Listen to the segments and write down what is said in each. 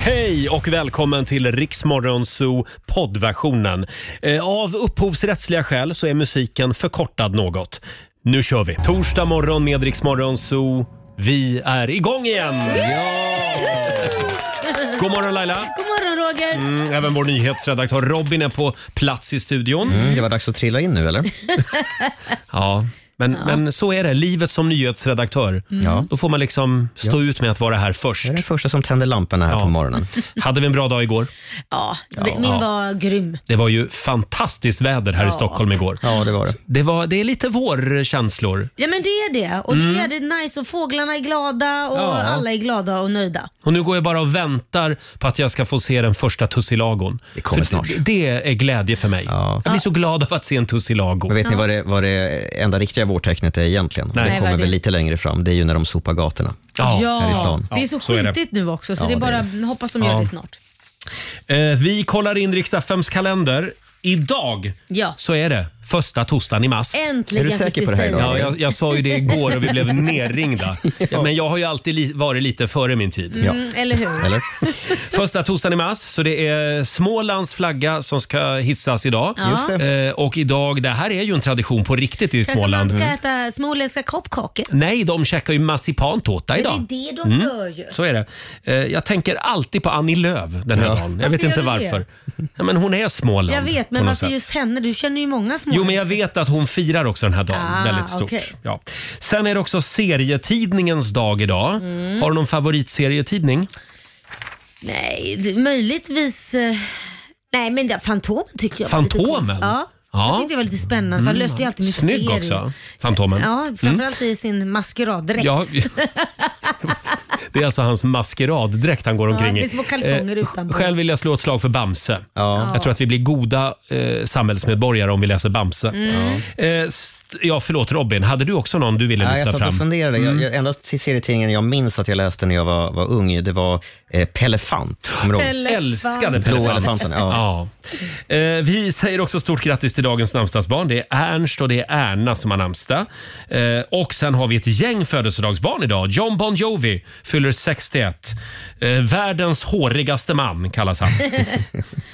Hej och välkommen till Riksmorgonzoo poddversionen. Eh, Av upphovsrättsliga skäl så är musiken förkortad något. Nu kör vi! Torsdag morgon med Riksmorgonzoo. Vi är igång igen! God morgon Laila! God morgon Roger! Mm, även vår nyhetsredaktör Robin är på plats i studion. Mm, det var dags att trilla in nu eller? Ja, men, men så är det. Livet som nyhetsredaktör. Ja. Då får man liksom stå ut med att vara här först. Jag är den första som tänder lamporna här Ja. på morgonen. Hade vi en bra dag igår? Ja, min var grym. Det var ju fantastiskt väder här i Ja. Stockholm igår. Ja, det var det. Det, var, det är lite vårkänslor. Ja men det är det och det är det nice och fåglarna är glada och Mm. Ja. alla är glada och nöjda. Och nu går jag bara och väntar på att jag ska få se den första tussilagon. Det kommer För snart. Det, det är glädje för mig. Ja. Jag blir så glad av att se en tussilago. Men vet ni vad det, vad det enda riktiga vårtecknet är egentligen? Nej, det vad är kommer det? väl lite längre fram. Det är ju när de sopar gatorna. Ja. här i stan. det är så, Ja, så är det. skitigt nu också så Ja, det är det bara är hoppas de gör Ja. det snart. Eh, vi kollar in Rix FMs kalender. Idag Ja. så är det första torsdagen i mars. Äntligen Är du fick säker på det här säga idag? Ja, jag, jag sa ju det igår och vi blev nerringda. ja. Men jag har ju alltid li- varit lite före min tid. Ja. Mm, eller hur? Eller? Första torsdagen i mars, så det är Smålands flagga som ska hissas idag. Ja. Just Eh, och idag, det här är ju en tradition på riktigt i Kanske Småland. mm. man ska äta småländska koppkakor? Nej, de käkar ju massipantårta Det är idag. Mm. det de gör ju. Så är det. Eh, jag tänker alltid på Annie Lööf den här dagen. Jag vet Varför inte gör du det? varför. Ja, men hon är Småland Jag vet på men något varför sätt. just henne? Du känner ju många småländska. Jo, men jag vet att hon firar också den här dagen Ah, väldigt stort. okej. Ja. Sen är det också serietidningens dag idag. Mm. Har du någon favoritserietidning? Nej, det- möjligtvis... eh, Nej men det, Fantomen tycker jag var lite Fantomen? cool. Ja. Ja. Jag tyckte det var lite spännande för han löste ju alltid mysterier. Mm. Snygg också, Fantomen. Ja, framförallt i sin maskeraddräkt. Mm. Ja, det är alltså hans maskeraddräkt han går omkring det i. Eh, är små kalsonger utanpå. Själv vill jag slå ett slag för Bamse. Ja. Jag tror att vi blir goda eh, samhällsmedborgare om vi läser Bamse. Mm. Eh, st- ja, förlåt Robin, hade du också någon du ville Nej, jag lyfta satt och fram? Mm. funderade. Jag, jag, endast till serietidningen jag minns att jag läste när jag var, var ung, det var eh, Pellefant. Kommer du ihåg? Pelle- Älskade Blå Pelefant. elefanten, ja. Ja. Eh, vi säger också stort grattis till dagens namnsdagsbarn. Det är Ernst och det är Erna som har namnsdag. Eh, och sen har vi ett gäng födelsedagsbarn idag. John Bon Jovi fyller 61. Eh, världens hårigaste man kallas han.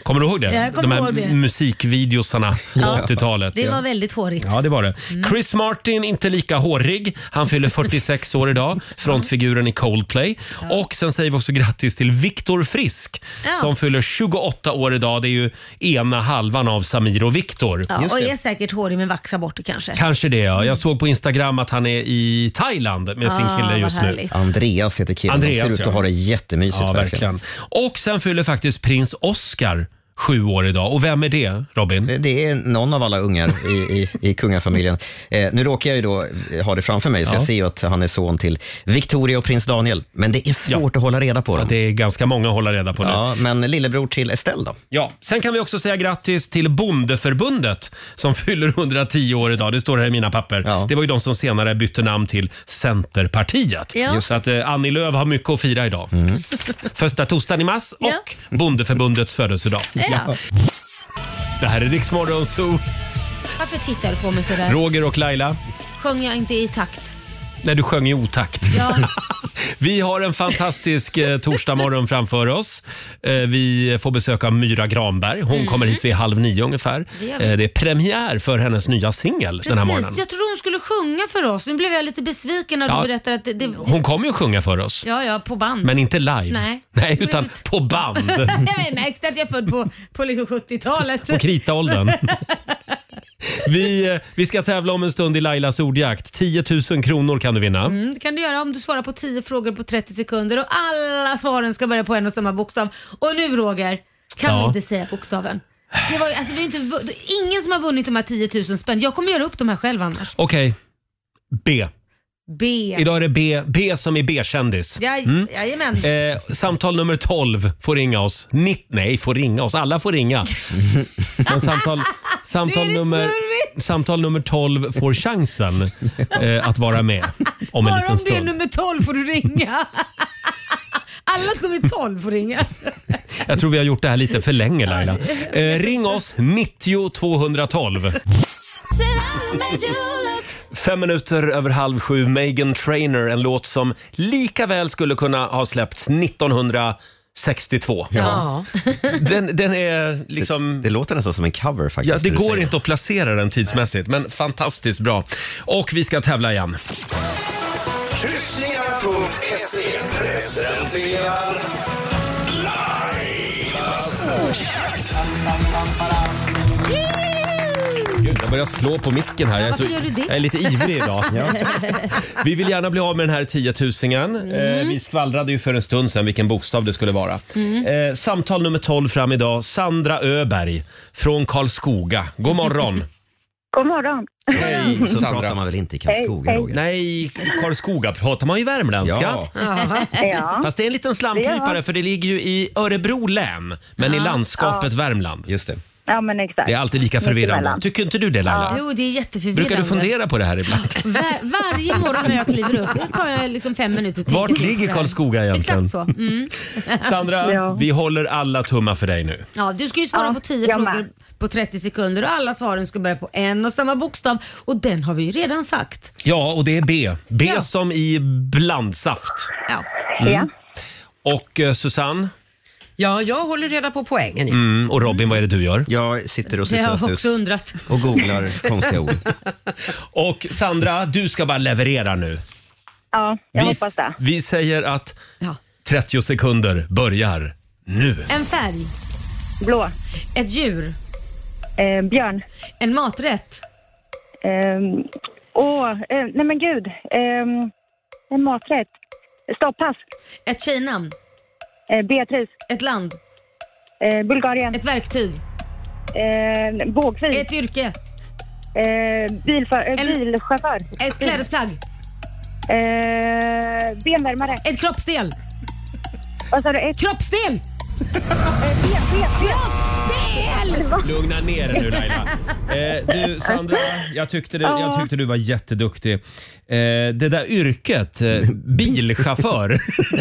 kommer du ihåg det? Ja, jag kommer De här ihåg det. musikvideosarna på Ja. 80-talet. Det var väldigt hårigt. Ja, det var det. Mm. Chris Martin, inte lika hårig. Han fyller 46 år idag, frontfiguren i Coldplay. Och sen säger vi också grattis till Viktor Frisk Ja. som fyller 28 år idag. Det är ju ena halvan av Samir och Viktor. Ja, Just och Mm. det. är säkert hårig men vaxar bort det kanske. Kanske det, ja. Jag såg på Instagram att han är i Thailand med sin Ah, kille vad just nu. härligt. Andreas heter killen. Andreas, de ser ut ja. att ha det jättemysigt. Ja, verkligen. Och sen fyller faktiskt prins Oscar sju år idag. Och vem är det, Robin? Det- Det är någon av alla ungar i, i, i kungafamiljen. Eh, nu råkar jag ju då ha det framför mig, så jag ser ju att han är son till Victoria och prins Daniel. Men det är svårt att hålla reda på dem. Det är ganska många att hålla reda på nu. Ja, men lillebror till Estelle då? Ja, sen kan vi också säga grattis till Bondeförbundet som fyller 110 år idag. Det står här i mina papper. Ja. Det var ju de som senare bytte namn till Centerpartiet. Ja. Just Så att eh, Annie Lööf har mycket att fira idag. Första torsdagen i mars och Ja. Bondeförbundets födelsedag. Ja. Det här är Rix Morgon Zoo. Varför tittar du på mig sådär? Roger och Laila. Sjöng jag inte i takt? Nej, du sjöng i otakt. Ja, Vi har en fantastisk eh, torsdagmorgon framför oss. Eh, vi får besöka Myra Granberg. Hon kommer hit vid halv nio ungefär. Mm. Det gör vi. Eh, det är premiär för hennes nya singel den här morgonen. precis. Jag trodde hon skulle sjunga för oss. Nu blev jag lite besviken när Ja. du berättade att det... det Hon kommer ju sjunga för oss, ja, ja, på band. men inte live. Nej. utan Roligt. på band. jag märks att jag är född på, på liksom 70-talet. På kritaåldern. Vi, eh, vi ska tävla om en stund i Lailas ordjakt. 10 000 kronor kan du vinna. Mm, det kan du göra om du svarar på 10 frågor på 30 sekunder och alla svaren ska börja på en och samma bokstav. Och nu Roger, kan Ja. vi inte säga bokstaven? Det var ju, alltså, vi har inte, vu- det är ingen som har vunnit de här 10 000 spänn. Jag kommer göra upp de här själv annars. Okej, B. B. Idag är det B, B som är B-kändis. Ja, Jajamän. Eh, samtal nummer 12 får ringa oss. Nitt, nej, får ringa oss. Alla får ringa. Men samtal, samtal, Nu är det nummer, snurrigt. samtal nummer 12 får chansen eh, att vara med om en Bara om liten du är stund. nummer 12 får du ringa. Alla som är 12 får ringa. Jag tror vi har gjort det här lite för länge Laila. Eh, ring oss, 90 212. Fem minuter över halv sju, Megan Trainer, en låt som lika väl skulle kunna ha släppts 1900 62. Ja. Den, den är liksom... Det låter nästan som en cover faktiskt. Ja, det när du går säger inte att placera den tidsmässigt, men fantastiskt bra. Och vi ska tävla igen. Kryssningar.se presenterar Gud, jag börjar slå på micken här. Jag är, varför gör du det? jag är lite ivrig idag. Vi vill gärna bli av med den här tiotusingen. Mm. Eh, vi skvallrade ju för en stund sedan vilken bokstav det skulle vara. Mm. Eh, samtal nummer 12 fram idag. Sandra Öberg från Karlskoga. God morgon! God morgon. Hej Så pratar Sandra! man väl inte i Karlskoga, Hej, Roger? Nej, i Karlskoga pratar man ju värmländska. Ja. Ja. Fast det är en liten slamkrypare för det ligger ju i Örebro län, men i landskapet Värmland. Just det. ja, men exakt. Det är alltid lika förvirrande. Mittemellan. Tycker inte du det Laila? Jo, det är jätteförvirrande. Brukar du fundera på det här ibland? Var, varje morgon när jag kliver upp, det tar jag liksom fem minuter till. Vart ligger Karlskoga egentligen? Exakt så. Mm. Sandra, Ja. vi håller alla tummar för dig nu. Ja, du ska ju svara Ja, på 10 jag frågor med. på 30 sekunder och alla svaren ska börja på en och samma bokstav och den har vi ju redan sagt. Ja, och det är B. B Ja. som i blandsaft. Ja. Mm. Ja. Och eh, Susanne ja, jag håller reda på poängen. ju. mm, och Robin, vad är det du gör? Jag sitter och Det har ser jag söt också ut undrat. och googlar konstiga ord. Och Sandra, du ska bara leverera nu. ja, jag vi, hoppas det. vi säger att Ja. 30 sekunder börjar nu. En färg, Blå. ett djur, Eh, björn. en maträtt, Eh, åh, eh, nej men gud. Eh, en maträtt. Stoppass. ett tjejnamn, Eh, Beatrice. ett land, Eh, Bulgarien. ett verktyg, Eh, bågfil. ett yrke, Eh, bilför, eh, En- Bilchaufför. ett klädesplagg, Eh, benvärmare. ett kroppsdel. Vad sa du? Ett Kroppsdel! eh, ben, ben, ben. Del! Lugna ner dig nu Laila. Eh, du Sandra, jag tyckte, du, jag tyckte du var jätteduktig. Eh, det där yrket, eh, bilchaufför.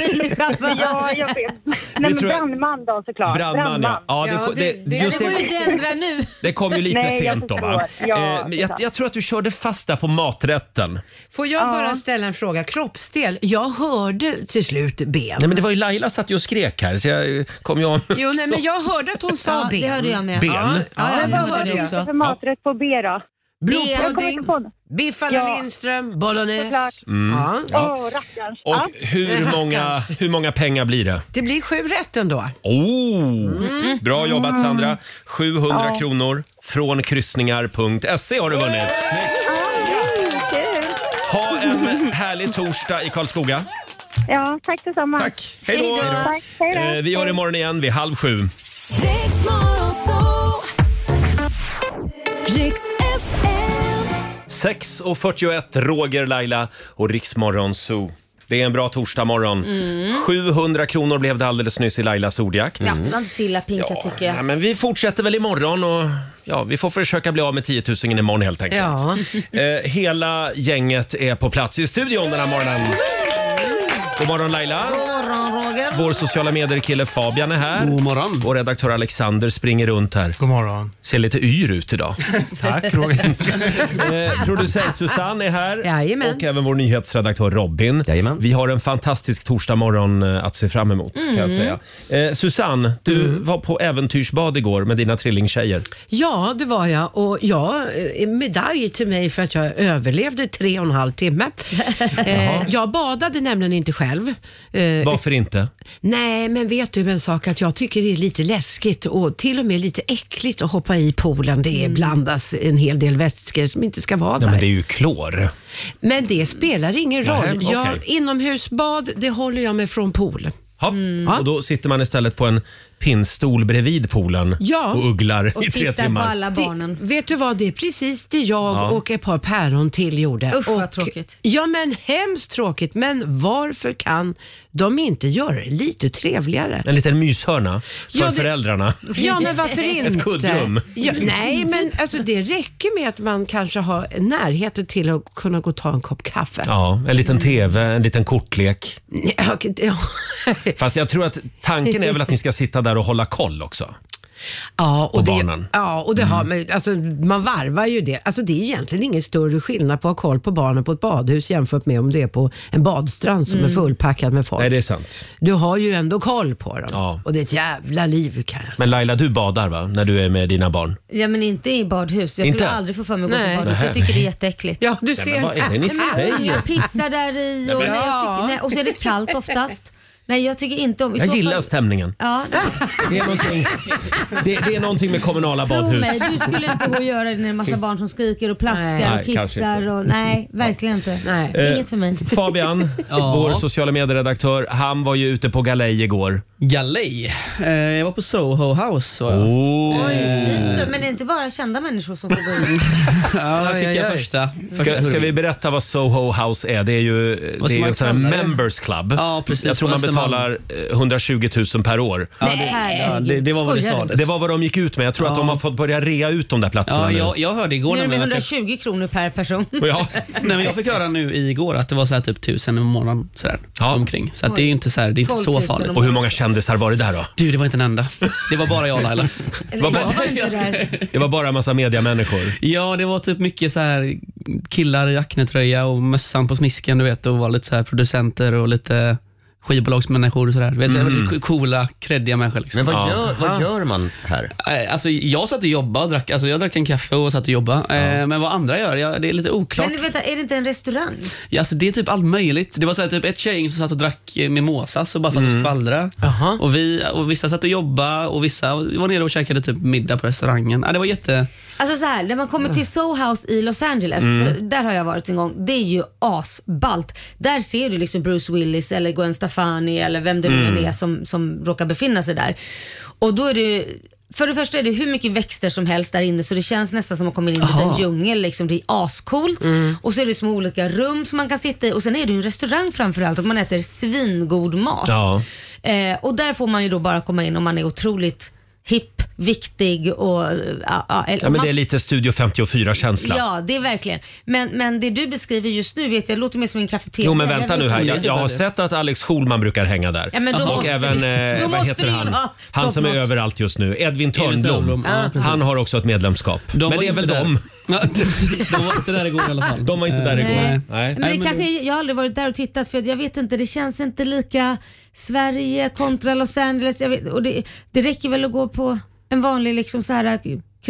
Bilchaufför. Ja, jag vet. Nej, men tror jag- brandman då såklart. Brandman ja. ja, Ja, det, det- det, det- Det just går ju det, inte att ändra nu. det kom ju lite Nej, jag sent då va? förstår. Ja, eh, men jag, exakt. jag tror att du körde fast där på maträtten. Får jag bara ställa en fråga? Kroppsdel. Jag hörde till slut ben. Nej men det var ju Laila satt ju och skrek här så jag kom ju om. Jo, nej, men jag hörde att hon sa Ja, ben. det hörde jag med. Ben. Ja, Ja, ja, jag jag hörde hörde det Vad det är det också. för maträtt på B då? Jag kommer Blodpudding, inte på något. biff à la Ja. Lindström, bolognese. Såklart. Ja. Ja. Åh, rackarns. Ja. Mm. Och hur många, hur många pengar blir det? Det blir sju rätt ändå. Oh, Mm. bra jobbat Sandra! 700 kronor från kryssningar.se E har du vunnit. Ha en härlig torsdag i Karlskoga. Ja, tack detsamma. Tack! Hej då! Hej då. Tack, hej då. Eh, Vi gör imorgon igen vid halv sju. Riks FM. 6.41, Roger, Laila och Riksmorgon Zoo. Det är en bra torsdagmorgon. Mm. 700 kronor blev det alldeles nyss i Lailas ordjakt. Ja, det var inte så illa pinkat tycker Mm. nej, jag. men vi fortsätter väl imorgon och ja, vi får försöka bli av med 10 000 imorgon helt enkelt. Ja. Eh, hela gänget är på plats i studion den här morgonen. God morgon Laila. God morgon Roger. Vår sociala medier-kille Fabian är här. God morgon. Vår redaktör Alexander springer runt här. God morgon. Ser lite yr ut idag. Tack Roger. Eh, producent Susanne är här Jajamän. och även vår nyhetsredaktör Robin. Jajamän. Vi har en fantastisk torsdagmorgon eh, att se fram emot kan jag säga. Eh, Susanne, du var på äventyrsbad igår med dina trillingtjejer. Ja, det var jag. Och ja, eh, medalj till mig för att jag överlevde tre och en halv timme. eh, jag badade nämligen inte själv. Eh, Varför inte? nej, men vet du en sak? Att jag tycker det är lite läskigt och till och med lite äckligt att hoppa i poolen. Det är blandas en hel del vätskor som inte ska vara där. Mm. Ja, men det är ju klor. Men det spelar ingen roll. Nähä, okej. jag, inomhusbad, det håller jag mig från pool. Mm. Ja. Mm. Och då sitter man istället på en pinnstol bredvid poolen Ja. och ugglar Och i tre tittar på timmar. alla barnen. Det, vet du vad, det är precis det jag och ett par päron till gjorde. Usch, vad och, tråkigt. Ja men hemskt tråkigt, men varför kan de inte göra det lite trevligare? En liten myshörna för Ja, det- föräldrarna. Ja men varför inte? kuddrum. Ja, nej men alltså det räcker med att man kanske har närheten till att kunna gå och ta en kopp kaffe. Ja, en liten TV, en liten kortlek. Ja, okej, ja. Fast jag tror att tanken är väl att ni ska sitta där och hålla koll också. Ja, och, Och det, barnen. Ja, och det Mm. har, men, alltså, man varvar ju det. Alltså, det är egentligen ingen större skillnad på att ha koll på barnen på ett badhus jämfört med om det är på en badstrand som Mm. är fullpackad med folk. Nej, det är sant. Du har ju ändå koll på dem. Ja. Och det är ett jävla liv kan jag säga. Men Laila, du badar va? När du är med dina barn? Ja men inte i badhus. Jag Inte? skulle aldrig få för mig att gå Nej. till badhus. Jag tycker det är jätteäckligt. Ja, du ser. men vad är det ni säger? Jag pissar där i och, men- nej, jag tycker, nej, och så är det kallt oftast. Nej jag tycker inte om... i Jag så gillar fall- stämningen. Ja, Det är någonting, det, det är någonting med kommunala tro badhus. mig. Du skulle inte gå och göra det när det är en massa barn som skriker och Nej, plaskar och kanske kissar. inte. Eh, Och, nej, verkligen inte. Nej. Det är Inget för mig. Fabian, vår sociala medieredaktör, han var ju ute på galej igår. Galej. Eh, jag var på Soho House. Var jag. Eh, Oh. Oj, fint. Men är det inte bara kända människor som får gå in? Ja, där fick Oj, oj, jag oj. första. första Ska, ska vi hurvin. berätta vad Soho House är? Det är ju eh, Vad det ska är man en sån här kalla det? members club. Ja, precis, Jag tror på man Östermalm. betalar eh, 120 000 per år. Ja, det, ja, det, det var vad det Skojar du? sades. Det var vad de gick ut med. Jag tror att de har fått börja rea ut de där platserna Ja, nu. jag, jag hörde igår Nu är det nämligen att jag, 120 kronor per person. Ja. nej, men jag fick höra nu igår att det var så här typ tusen i månaden sådär, Ja. omkring. Så att det är ju inte så, här, det är inte 12 så 000 farligt. om- Och hur många kändisar var det där då? Du, det var inte en enda. Det var bara jag och Laila. Eller, Vad- jag var inte där. Det var bara en massa mediamänniskor. Ja, det var typ mycket så här killar i aknetröja och mössan på snisken, du vet, och var lite så här producenter och lite skivbolagsmänniskor och sådär. Du vet, så här Mm. Väldigt coola, kreddiga människor. Liksom. Men vad gör, vad gör man här? Eh, Alltså, jag satt och jobbade och drack, alltså, jag drack en kaffe och satt och jobbade. Eh, Men vad andra gör, jag, det är lite oklart. Men vänta, är det inte en restaurang? Ja, alltså, det är typ allt möjligt. Det var så här, typ ett tjejgäng som satt och drack eh, mimosas och bara satt och skvallrade. Jaha. Och, vi, och vissa satt och jobbade och vissa var nere och käkade typ middag på restaurangen. Ja, det var jätte... Alltså så här, när man kommer till Soho House i Los Angeles, för där har jag varit en gång, det är ju asballt. Där ser du liksom Bruce Willis eller Gwen Stefani eller vem det nu än är som, som råkar befinna sig där. Och då är det för det första är det hur mycket växter som helst där inne så det känns nästan som att komma in i en liten djungel. Liksom. Det är ascoolt. Mm. Mm. Och så är det små olika rum som man kan sitta i och sen är det ju en restaurang framförallt och man äter svingod mat. Ja. Eh, och där får man ju då bara komma in om man är otroligt hipp, viktig och... eh, ja, ja, eller ja om men man- det är lite Studio 54-känsla. Ja, det är verkligen. Men, men det du beskriver just nu vet jag låter mer som en kafeteria. Jo men Jag vänta vet nu här. inte. Jag, jag har sett att Alex Schulman brukar hänga där. Ja, men då och måste även, vi- då eh, vad måste heter vi han? ha Han som är toppnotch. överallt just nu. Edvin Törnblom. Törnblom, ja, precis. han har också ett medlemskap. De men var det är inte väl där. de. Ja, de var inte där igår i alla fall. De var inte där Eh, igår. nej. Nej. Men Nej, det men kanske, jag har aldrig varit där och tittat för jag vet inte, det känns inte lika Sverige kontra Los Angeles. Jag vet, och det, det räcker väl att gå på en vanlig liksom så här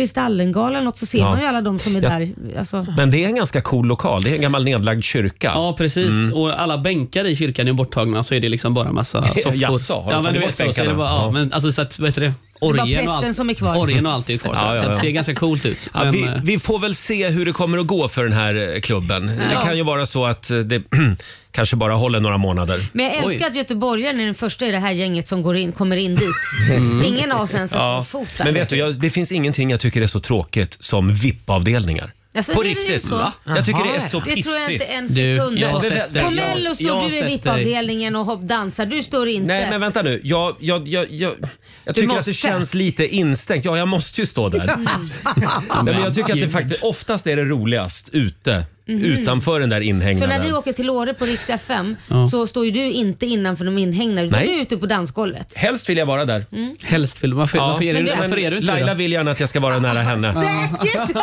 Kristallengala eller något så ser Ja. man ju alla de som är Ja. där. Alltså. Men det är en ganska cool lokal. Det är en gammal nedlagd kyrka. Mm. Ja, precis. Och alla bänkar i kyrkan är borttagna, så är det liksom bara massa soffor. Jaså, har de ja, men tagit du bort vet så, så är det bänkarna? bara, ja, Ja. men alltså så att, vad heter det? Orgen och, prästen allt, som är kvar. orgen och allt är ju kvar. så Ja, att- ja, Så att ja. det ser ganska coolt ut. Ja, men, vi, eh, vi får väl se hur det kommer att gå för den här eh, klubben. Det kan ju vara så att eh, det kanske bara håller några månader. Men jag älskar Oj. att göteborgaren är den första i det här gänget som går in, kommer in dit. Mm. Ingen av oss ens sätter Mm. Ja. fot där. Men vet du, jag, det finns ingenting jag tycker är så tråkigt som VIP-avdelningar. Alltså, På är det riktigt. så? Jag tycker det är Jaha, så Det tror jag inte pisstrist. en Du, sekund. jag av. har Nej, sett dig. På Jag- Mello jag har står du i sett dig. VIP-avdelningen och hoppdansar. Du står inte. Nej men vänta nu, jag, jag, jag, jag, jag tycker att det måste. känns lite instängt. Ja, jag måste ju stå där. Nej, men jag tycker att det faktiskt, oftast är det roligast ute, utanför den där Mhm. Så när inhägnaden. vi åker till Åre på Rix FM så står ju du inte innanför de inhägnade utan Nej. du är ute på dansgolvet. Helst vill jag vara där. Mm. Helst vill varför, varför är du, men det- varför är du inte det då? Laila vill gärna att jag ska vara nära henne. Säkert!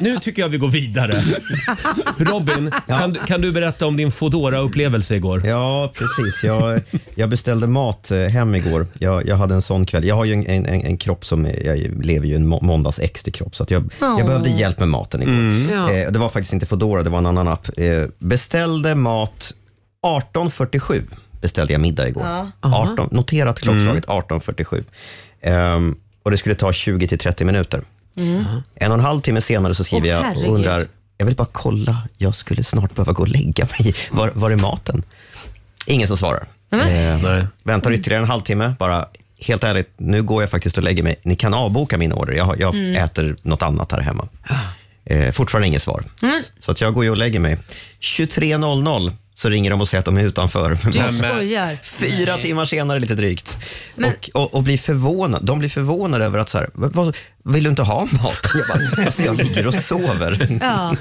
Nu tycker jag vi går vidare. Robin, kan, du- kan du berätta om din fodora upplevelse igår? Ja, precis. Jag, jag beställde mat eh, hem igår. Jag, jag hade en sån kväll. Jag har ju en, en, en en kropp som, eh, jag lever ju i en må- måndags extra kropp, så att jag, jag behövde hjälp med maten igår. Mm. Ja. Eh, det var faktiskt inte Foodora, det var en annan app. Eh, beställde mat 18.47 beställde jag middag igår. 18, noterat klockslaget Mm. 18.47. Ehm, och det skulle ta 20 till 30 minuter. Mm. En och en halv timme senare så skriver Åh, jag herregud. och undrar, jag vill bara kolla, jag skulle snart behöva gå och lägga mig. Var, var är maten? Ingen som svarar. Eh, Nej. Väntar ytterligare en halvtimme, bara helt ärligt, nu går jag faktiskt och lägger mig. Ni kan avboka min order, jag, jag Mm. äter något annat här hemma. Eh, fortfarande inget svar. Mm. Så att jag går ju och lägger mig. 23.00 så ringer de och säger att de är utanför. Du skojar. Fyra timmar senare lite drygt. Och, och, och blir förvånad. De blir förvånade över att så här, vad, vad, vill du inte ha mat? Jag bara, alltså jag ligger och sover. Ja.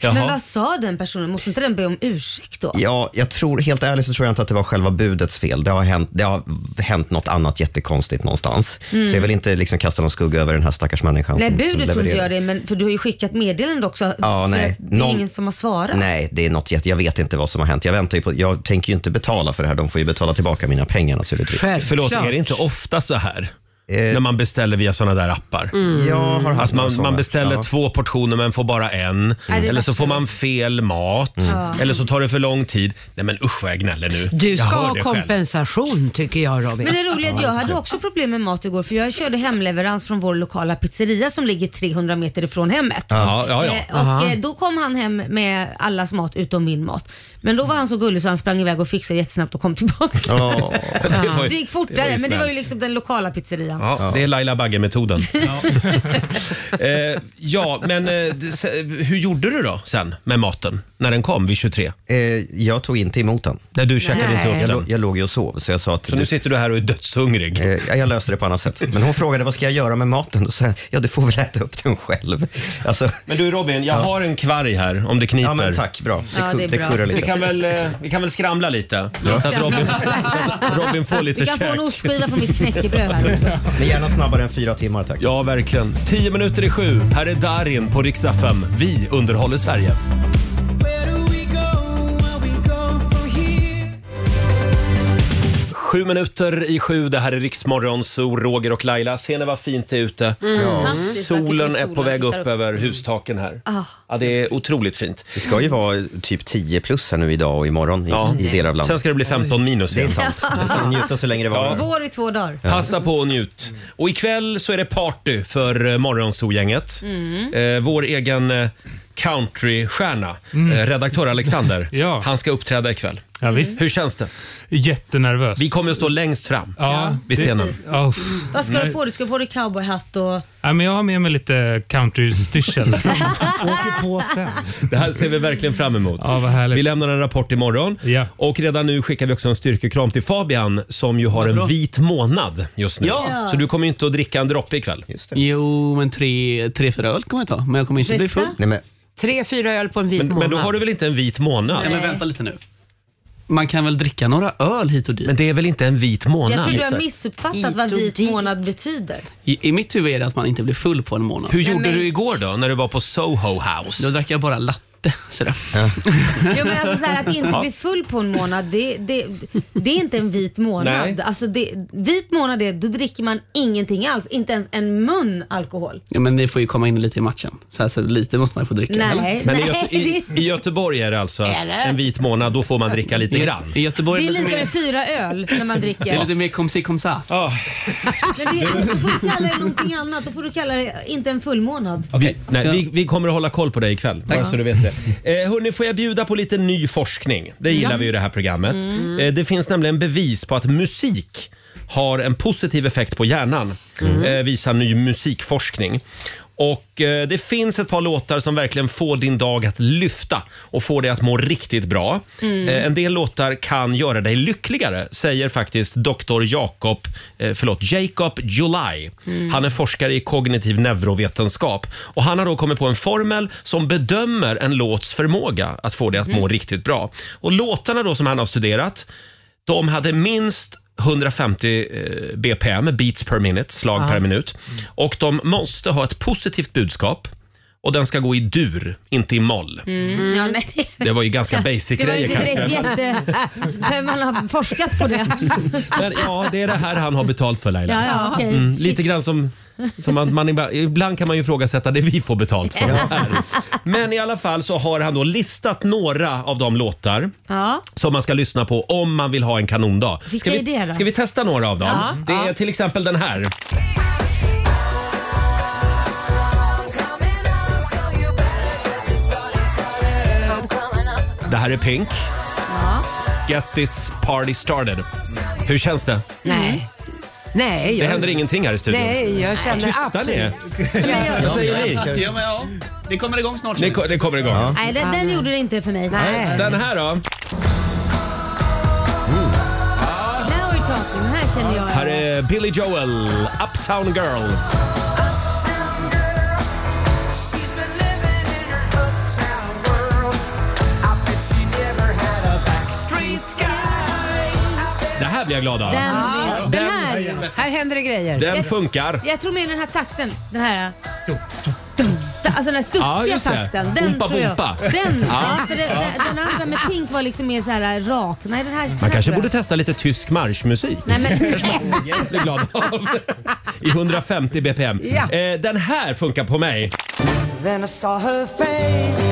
Jaha. Men vad sa den personen? Måste inte den be om ursäkt då? Ja, jag tror, helt ärligt så tror jag inte att det var själva budets fel. Det har hänt, det har hänt något annat jättekonstigt någonstans. Så jag vill inte liksom kasta någon skugga över den här stackars människan. Mm. Nej, som, som budet tror inte levererar. jag det, men för du har ju skickat meddelande också. Ja, så nej. att Det är Någon- ingen som har svarat. Nej, det är något jätte... Jag vet inte vad som har hänt. Jag, väntar ju på, jag tänker ju inte betala för det här. De får ju betala tillbaka mina pengar naturligtvis. Eh, Självklart. Förlåt, är det inte ofta så här? När man beställer via sådana där appar. Mm. Mm. Jag har Att haft man, några man sådana. beställer Ja. två portioner men får bara en. det är Eller så värsta. Mm. får man fel mat. Eller så tar det för lång tid. Nej men usch vad jag gnäller nu. Du ska jag hör ha det själv. kompensation tycker jag Robin. Men det roliga är att jag hade också problem med mat igår för jag körde hemleverans från vår lokala pizzeria som ligger 300 meter ifrån hemmet. Ja, ja, ja. Eh, Och eh, då kom han hem med allas mat utom min mat. Men då var han så gullig så han sprang iväg och fixade jättesnabbt och kom tillbaka. Ja. Det, var Det ju, gick fortare ju men det var ju snällt. liksom den lokala pizzerian. ja, det är Laila Bagge-metoden. Ja. eh, ja, men eh, du- se- hur gjorde du då sen med maten? När den kom vid 23? Eh, jag tog inte emot den. När du käkade inte upp Jag, lå- den? jag låg ju och sov, så jag sa att... Så du- nu sitter du här och är dödshungrig. Eh, ja, jag löste det på annat sätt. Men hon frågade vad ska jag göra med maten? Då sa jag, ja du får väl äta upp den själv. Alltså, Men du Robin, jag har en kvarg här om det kniper. ja men tack, bra. Det, Ja, ku- det är det bra. kurrar Vi lite. kan väl, eh, vi kan väl skramla lite? Så att Robin, Robin får lite Vi kan få käk. en ostskiva från mitt knäckebröd här också. Men gärna snabbare än fyra timmar tack. Ja, verkligen. 10 minuter i sju. Här är Darin på riksdag 5. Vi underhåller Sverige. Sju minuter i sju, det här är Riksmorgon, så Roger och Laila. Ser ni vad fint det är ute? Mm, Fantastiskt, Solen vackert är när på väg upp, tittar över hustaken här. Ah. Ja, det är otroligt fint. Det ska ju vara typ 10 plus här nu idag och imorgon i, Ja. i delar av Sen landet. ska det bli 15 minus Det är igen. sant. Man kan njuta så länge det varar. Vår i två dagar. Passa på och njut. Och ikväll så är det party för eh, Morgonzoo-gänget. Eh, vår egen eh, countrystjärna, eh, redaktör Alexander, Mm. Ja. han ska uppträda ikväll. Ja, visst. Hur känns det? Jättenervös. Vi kommer att stå längst fram ja, vid det- scenen. Ja, uff. Vad ska du på dig? Ska du på dig cowboyhatt och... Nej, men jag har med mig lite countrystyrsel. Åker på sen. Det här ser vi verkligen fram emot. Ja, vad härligt. Vi lämnar en rapport imorgon. Ja. Och redan nu skickar vi också en styrkekram till Fabian som ju har en vit månad just nu. Ja. Så du kommer ju inte att dricka en droppe ikväll. Jo, men tre, tre fyra öl kommer jag ta, men jag kommer inte bli Ursäkta? full. Nej, men, Tre, fyra öl på en vit Men, månad. men då har du väl inte en vit månad? Nej, men vänta lite nu. Man kan väl dricka några öl hit och dit? Men det är väl inte en vit månad? Jag tror du har missuppfattat vad vit månad betyder. I, I mitt huvud är det att man inte blir full på en månad. Hur gjorde men- du igår då när du var på Soho Då House? drack jag bara latte. Sådär. Jo, men alltså så här, att inte bli full på en månad, det, det, det är inte en vit månad. Nej. Alltså det, vit månad är, då dricker man ingenting alls. Inte ens en mun alkohol. Ja, men det får ju komma in lite i matchen. Så, här, så lite måste man få dricka. eller? Nej, Men i, nej. Göte- i, i Göteborg är det alltså en vit månad, då får man dricka lite grann. I det, Göteborg det är är det lika lite med mer, fyra öl när man det är dricker. lite mer comme ci, comme ça. Ah, Men det, då får du kalla det någonting annat. Då får du kalla det inte en full månad. Vi, nej, vi, vi kommer att hålla koll på dig ikväll. Bara så du vet det. Eh, hörni, får jag bjuda på lite ny forskning? Det gillar vi ju i det här programmet. Eh, det finns nämligen bevis på att musik har en positiv effekt på hjärnan, eh, visar ny musikforskning. Och eh, Det finns ett par låtar som verkligen får din dag att lyfta och får dig att må riktigt bra. Eh, en del låtar kan göra dig lyckligare, säger faktiskt doktor Jakob, eh, förlåt, Jacob July. Han är forskare i kognitiv neurovetenskap. Och Han har då kommit på en formel som bedömer en låts förmåga att få dig att må riktigt bra. Och Låtarna då som han har studerat de hade minst 150 eh, BPM, beats per minute, slag per minut. Och de måste ha ett positivt budskap och den ska gå i dur, inte i moll. Mm. Ja, men det, Det var ju ganska basic det var ju grejer inte kanske. direkt jätte... men Man har forskat på det. Men ja, det är det här han har betalt för Laila. Ja, ja, okej. Mm, lite grann som, som att man ibland, ibland kan man ju ifrågasätta det vi får betalt för. här. Men i alla fall så har han då listat några av de låtar Ja. som man ska lyssna på om man vill ha en kanondag. Vilka vi, är det då? ska vi testa några av dem? Ja. det är till exempel den här. Det här är Pink. Get this party started. Hur känns det? Nej. Mm. Nej, Det jag, händer ingenting här i studion. nej, jag känner Tysta ni är. absolut... Vad säger ni? Ja, men ja. Det kommer igång snart. Det, ko- det kommer igång. Nej, den, den gjorde det inte för mig. Nej. Den här då? Now we're talking. Den här känner jag. Här är Billy Joel, Uptown Girl. Det här blir jag glad av. Den, den här. Här händer det grejer. Ah. Den funkar. Jag tror mer den här takten. Den här... Alltså den här studsiga Ja, just det. takten. Den Ompa tror jag. bompa. Den, ja. för den, den, den andra med pink var liksom mer så här rak. Nej, den här, den Man här kanske tror jag. borde testa lite tysk marschmusik. Nej, men- kanske man blir glad av. I 150 bpm. Ja. Eh, den här funkar på mig. Then I saw her face.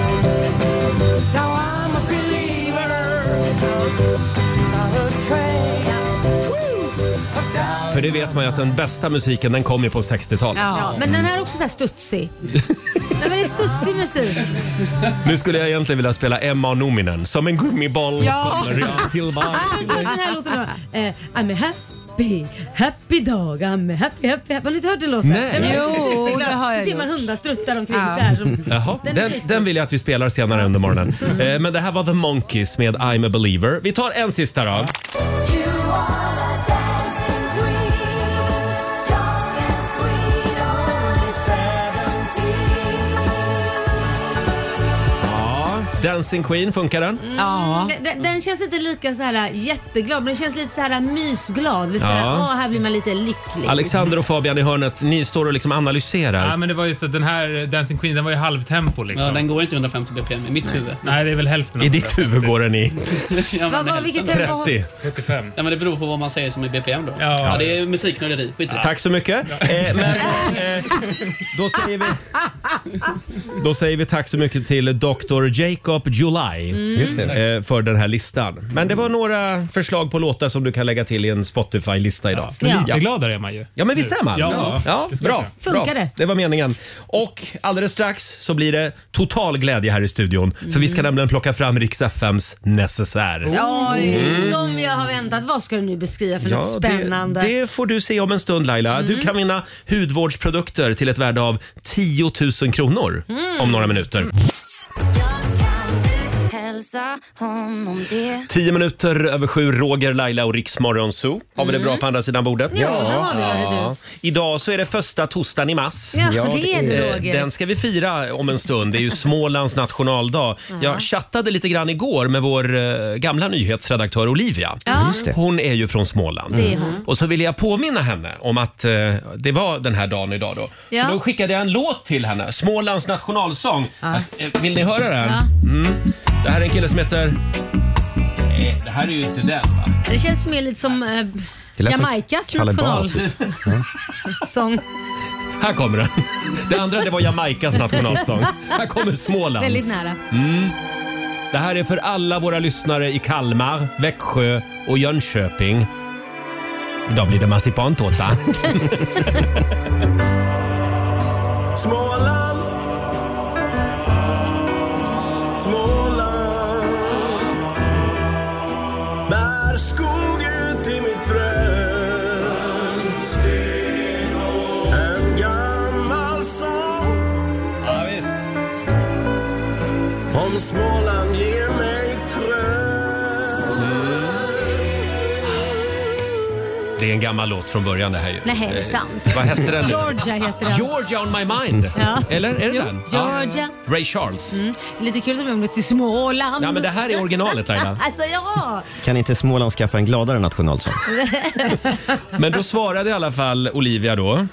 Now I'm a believer. Not a trace of doubt. För det vet man ju att den bästa musiken den kom ju på 60-talet. Ja, men den här är också så här studsig. Nej, men det är studsig musik. Nu skulle jag egentligen vilja spela Emma Nominen. Som en gummiboll Ja. kommer jag tillbaka. Ah, Den här låten då. Eh, I'm a happy, happy dog, I'm a happy, happy, happy. Har ni inte hört den låten? Nej. Den var Jo, superglad. det har jag Då ser man hundar struttar omkring Ja. så här. Som, Jaha, Den är den, skitbra. den vill jag att vi spelar senare under morgonen. Eh, men det här var The Monkeys med I'm a believer. Vi tar en sista då. You are the dancing queen, young and sweet, only seventeen. Ja, Dancing Queen, funkar den? Ja. Mm. den- den, den känns inte lika så här jätteglad, men den känns lite så här mysglad. Lite så här, Ja. åh, här blir man lite lycklig. Alexander och Fabian i hörnet, ni står och liksom analyserar. Ja, men det var just att den här Dancing Queen, den var ju halvtempo liksom. Ja, den går inte 150 bpm i mitt huvud. Nej, det är väl hälften I av ditt huvud går den i Ja, Vad- men vad- vilket hälften. tempo har- 30. 75. Ja, men det beror på vad man säger som är BPM då. Ja. Ja, det är musiknörderi. Skit i det. Tack så mycket. Eh, men, eh, då, säger vi, då säger vi tack så mycket till Dr. Jacob July Mm. Just det. eh, för den här listan. Men det var några förslag på låtar som du kan lägga till i en Spotify-lista idag. Ja. Lite gladare är man ju. Ja, men visst är man? Ja, ja. det ska bra. jag säga. Funkar bra. det? Det var meningen. Och alldeles strax så blir det total glädje här i studion. För vi ska Mm. nämligen plocka fram Rix FMs necessär. Mm. Oj, som jag har väntat. Vad ska du nu beskriva för något spännande? Mm. Det, det får du se om en stund Laila. Du kan vinna hudvårdsprodukter till ett värde av 10 000 kronor om några minuter. Jag kan du hälsa honom det? 10 minuter över sju, Roger, Laila och Riksmorgon Zoo. Har vi det bra på andra sidan bordet? Ja, Mm. det har vi, hörru du. Idag så är det första torsdagen i mars. Ja, Ja, det är det Eh, Roger. Den ska vi fira om en stund. Det är ju Smålands nationaldag. Jag chattade lite grann igår med vår eh, gamla nyhetsredaktör Olivia. Ja. Mm, det. Hon är ju från Småland. Mm. Det är hon. Och så ville jag påminna henne om att eh, det var den här dagen idag då. Ja. Så då skickade jag en låt till henne, Smålands nationalsång. Att, eh, vill ni höra den? Mm. Det här är en kille som heter... Nej, det här är ju inte den va? Det känns mer lite som eh, Det lät som Jamaikas Kalle Bard. typ. nationalsång. Här kommer den. Det andra det var Jamaikas nationalsång. Här kommer Smålands. Väldigt nära. Det här är för alla våra lyssnare i Kalmar, Växjö och Jönköping. Idag blir det marsipantårta. Småland. Småland. Bär skog ut i mitt bröst. En gammal sång ja, visst. om Småland ger mig tröst. Det är en gammal låt från början det här ju. Eh, Nej, det är sant. Vad hette den nu? Georgia heter den. Georgia on my mind. Ja. Eller är det Jo, den? Georgia. Ja. Ray Charles. Mm. Lite kul att de gjorde till Småland. Ja, men det här är originalet Laila. Alltså ja! Kan inte Småland skaffa en gladare nationalsång? Men då svarade i alla fall Olivia då,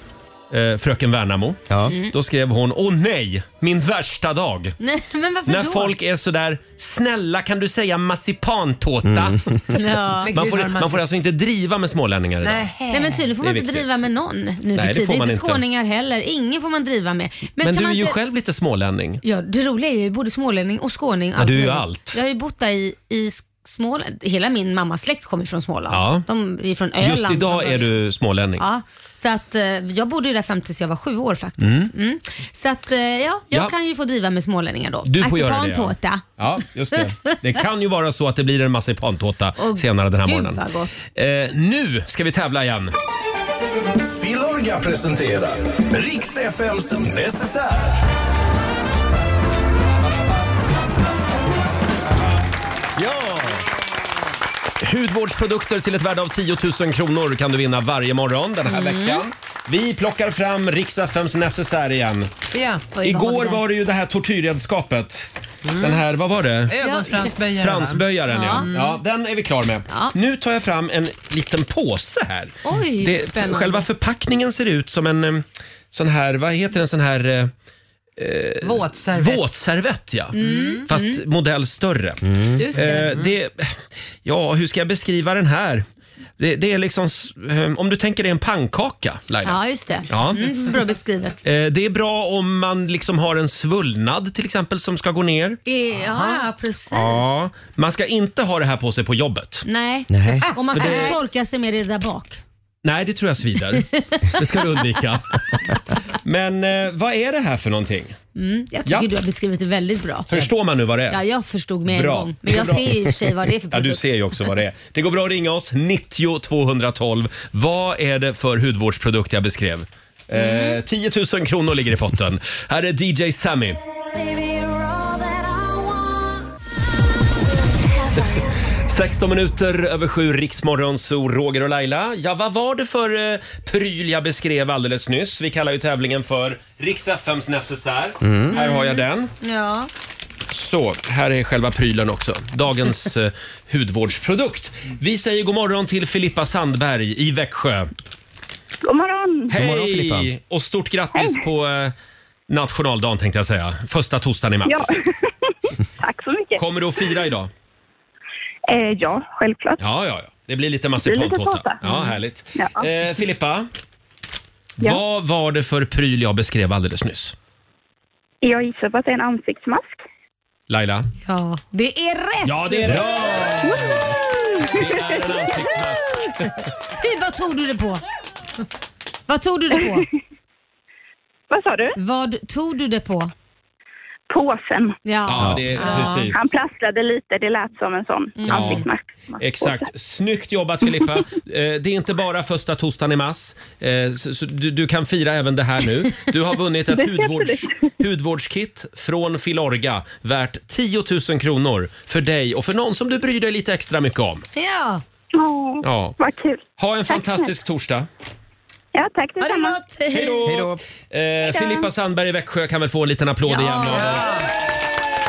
eh, fröken Värnamo. Mm. Ja. Då skrev hon, åh nej, min värsta dag. Nej, men varför När då? folk är sådär, snälla kan du säga marsipantårta? Ja. Men Man, gud, får, vad man får alltså inte driva med smålänningar idag. Nej. Nej men tydligen får Det är man inte viktigt. driva med någon nu det för får tiden. man Inte inte. skåningar heller. Ingen får man driva med. Men, kan du är man ju inte- själv lite smålänning. Ja, det roliga är ju jag är både smålänning och skåning. Ja, du är ju möjligt. allt. Jag har ju bott där i, i Småland. Hela min mammas släkt kommer från Småland. Ja. De är från Öland. Just idag från är början. du smålänning. Ja, så att eh, jag bodde ju där fram tills jag var sju år faktiskt. Mm. Så att eh, ja, jag Ja. kan ju få driva med smålänningar då. Du får göra det. Marsipantårta. Ja, just det. Det kan ju vara så att det blir en marsipantårta Åh, senare den här gud, morgonen. vad gott. Eh, nu ska vi tävla igen. Filorga presenterar Riks FMs necessär. Hudvårdsprodukter till ett värde av 10 000 kronor kan du vinna varje morgon den här Mm. veckan. Vi plockar fram Riksaffems necessär igen. Ja. Oj, vad har vi Igår där? var det ju det här tortyrredskapet Den här, vad var det? Ögonfransböjare. Fransböjaren ja. Mm. Ja. ja. Den är vi klar med. Ja. Nu tar jag fram en liten påse här. Oj, det, spännande. Själva förpackningen ser ut som en eh, sån här, vad heter en sån här eh, Våtservett. Mm. våtservett ja. Fast modell större. Just det. Eh, det, ja, hur ska jag beskriva den här? Det, det är liksom, s- eh, om du tänker dig en pannkaka Laila. Ja, just det. Ja. Mm, bra beskrivet. Eh, Det är bra om man liksom har en svullnad till exempel som ska gå ner. Ja, precis. Ja. Man ska inte ha det här på sig på jobbet. Nej. Nej. Om man ska Det- Torka sig med det där bak. Nej, det tror jag svider. Det ska du undvika. Men eh, vad är det här för någonting? Mm, jag tycker Ja. du har beskrivit det väldigt bra. Förstår man nu vad det Ja, är? jag förstod med Bra. en gång. Men jag Bra. ser ju i och för sig vad det är för Ja, du produkt. ser ju också vad det är. Det går bra att ringa oss, 90 212. Vad är det för hudvårdsprodukt jag beskrev? Mm. Eh, 10 000 kronor ligger i potten. Här är DJ Sammy. Baby, you're all that I want. 16 minuter över sju, Riksmorgon, så Roger och Laila. Ja, vad var det för eh, pryl jag beskrev alldeles nyss? Vi kallar ju tävlingen för Riks FMs necessär. Här har jag den. Ja. Så, här är själva prylen också. Dagens eh, hudvårdsprodukt. Vi säger god morgon till Filippa Sandberg i Växjö. God morgon! Hej! morgon, Filippa. Och stort grattis på eh, nationaldagen tänkte jag säga. Första torsdagen i mars. Ja. Tack så mycket. Kommer du att fira idag? Eh, ja, självklart. Ja, ja, ja. Det blir lite Det blir lite marsipantårta. tårta. Ja, Mm. härligt. Ja. Eh, Filippa, Ja. vad var det för pryl jag beskrev alldeles nyss? Jag gissar på att det är en ansiktsmask. Laila? Ja, det är rätt! Ja, det är det! Det är en ansiktsmask. Fy, vad tog du det på? Vad tog du det på? Vad sa du? Vad tog du det på? Påsen. Ja. Mm. Ja, det är precis. Han plasslade lite, det lät som en sån ansiktsmask. Exakt. Snyggt jobbat Filippa. Eh, Det är inte bara första torsdagen i mars. Eh, så- så Du, du kan fira även det här nu. Du har vunnit ett Det heter hudvårds, hudvårdskit från Filorga värt 10 000 kronor för dig och för någon som du bryr dig lite extra mycket om. Ja, Åh, Ja. Vad kul. Ha en Tack. fantastisk torsdag. Eh, Ja, tack ha det detsamma. gott! Hej då! Hej då. Eh, Filippa Sandberg i Växjö kan väl få en liten applåd Ja. igen av oss.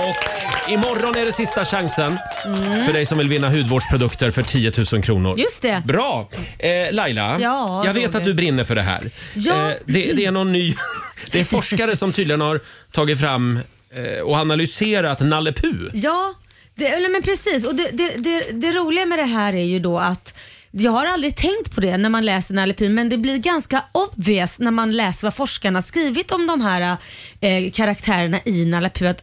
Och imorgon är det sista chansen Mm. för dig som vill vinna hudvårdsprodukter för 10 000 kronor. Just det. Bra! Eh, Laila, Ja, jag vet Roger. att du brinner för det här. Eh, Ja. det, det är någon ny... Det är forskare som tydligen har tagit fram eh, och analyserat Nalle Puh. Ja, det, eller men precis. Och det, det, det, det roliga med det här är ju då att jag har aldrig tänkt på det när man läser Nalle Puh, men det blir ganska obvious när man läser vad forskarna skrivit om de här eh, karaktärerna i Nalle Puh. Att,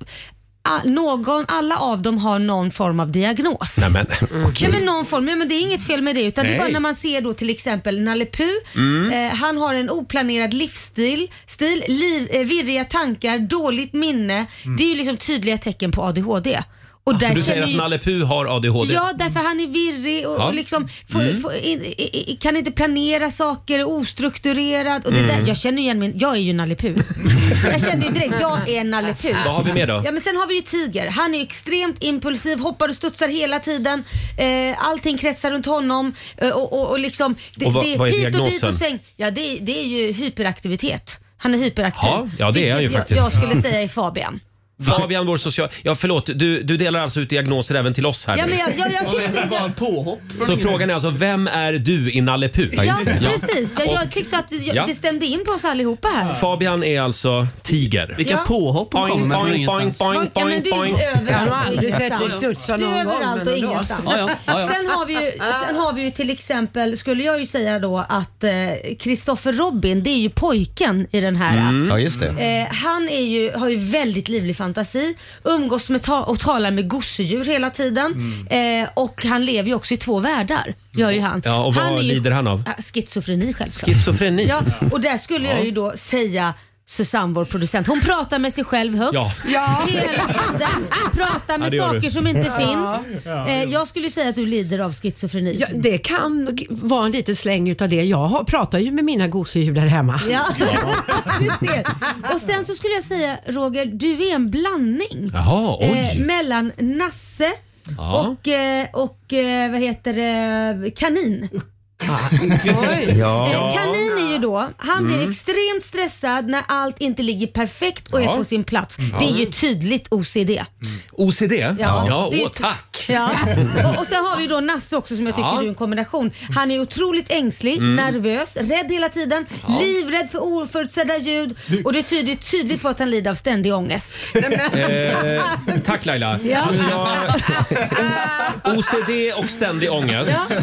ah, någon, alla av dem har någon form av diagnos. Nej, men. Mm. Ja, men någon form. Ja, men det är inget fel med det. Utan det är Mm. Nej. bara Mm. när man ser då till exempel Nalle Puh. Eh, han har en oplanerad livsstil, stil, liv, eh, virriga tankar, dåligt minne. Det är ju liksom tydliga tecken på ADHD. Och där Mm. Du känner säger att ju- Nalle Puh har ADHD. Ja, därför han är virrig och, Ja. Mm. och liksom får, får, in, i, i, kan inte planera saker, är ostrukturerad. Och det Mm. där, jag känner ju igen min, jag är ju Nalle Puh. jag känner ju direkt, jag är Nalle Puh. Vad har vi mer då? Ja men sen har vi ju Tiger. Han är ju extremt impulsiv, hoppar och studsar hela tiden. Eh, allting kretsar runt honom eh, och, och, och liksom... Det, Och vad- det vad är hit och dit diagnosen? och säng. Ja det, det är ju hyperaktivitet. Han är hyperaktiv. Ja, ja, det är han ju Vilket faktiskt. Jag, jag skulle säga är Fabian. Fabian, vår social... Ja, förlåt. Du, du delar alltså ut diagnoser även till oss här Ja nu. men jag, jag, jag tyckte... Det var påhopp. Så frågan är alltså, vem är du i Nalle Puh? Ja, precis. Jag, jag tyckte att jag, Ja. det stämde in på oss allihopa här. Fabian är alltså tiger. Vilka Ja. påhopp hon kommer Boing, med från boing, ingenstans. boing, boing, Ja, men boing, du är ju boing. Jag har överallt nog och aldrig sett dig ingenstans. studsa Du någon Alltså, är gång, överallt men och ändå. ingenstans. Ja, ja, ja, ja. Sen, har vi ju, sen har vi ju till exempel, skulle jag ju säga då att Kristoffer Robin, det är ju pojken i den Mm. här. Ja, just det. Eh, han är ju, har ju väldigt livlig fantasi, umgås med ta- och talar med gosedjur hela tiden. Eh, och han lever ju också i två världar. Gör ju han. Mm. Ja, och vad han är ju- lider han av? Ah, Schizofreni självklart. Schizofreni. Ja, och där skulle jag ju då säga Susanne, vår producent, hon pratar med sig själv högt. Ja. Hela tiden. Pratar Ja, Ah, med det gör saker du. som inte finns. Eh, jag skulle ju säga att du lider av schizofreni. Ja, det kan g- vara en liten släng utav det. Jag har, pratar ju med mina gosedjur där hemma. Ja. du ser. Och sen så skulle jag säga Roger, du är en blandning Jaha, eh, oj. mellan Nasse Ja. och, eh, och eh, vad heter det, kanin. Oj. Eh, Ja. Kanin är ju då, han blir Mm. extremt stressad när allt inte ligger perfekt och Ja. är på sin plats. Mm. Det är Ja. ju tydligt OCD. OCD? Ja, ja det är åh, ty- tack! Ja. Och, och sen har vi ju då Nasse också som jag tycker Ja. är en kombination. Han är otroligt ängslig, Mm. nervös, rädd hela tiden, Ja. livrädd för oförutsedda ljud och det tyder tydligt på att han lider av ständig ångest. Eh, tack Laila. Ja. Alltså, jag... OCD och ständig ångest. Ja.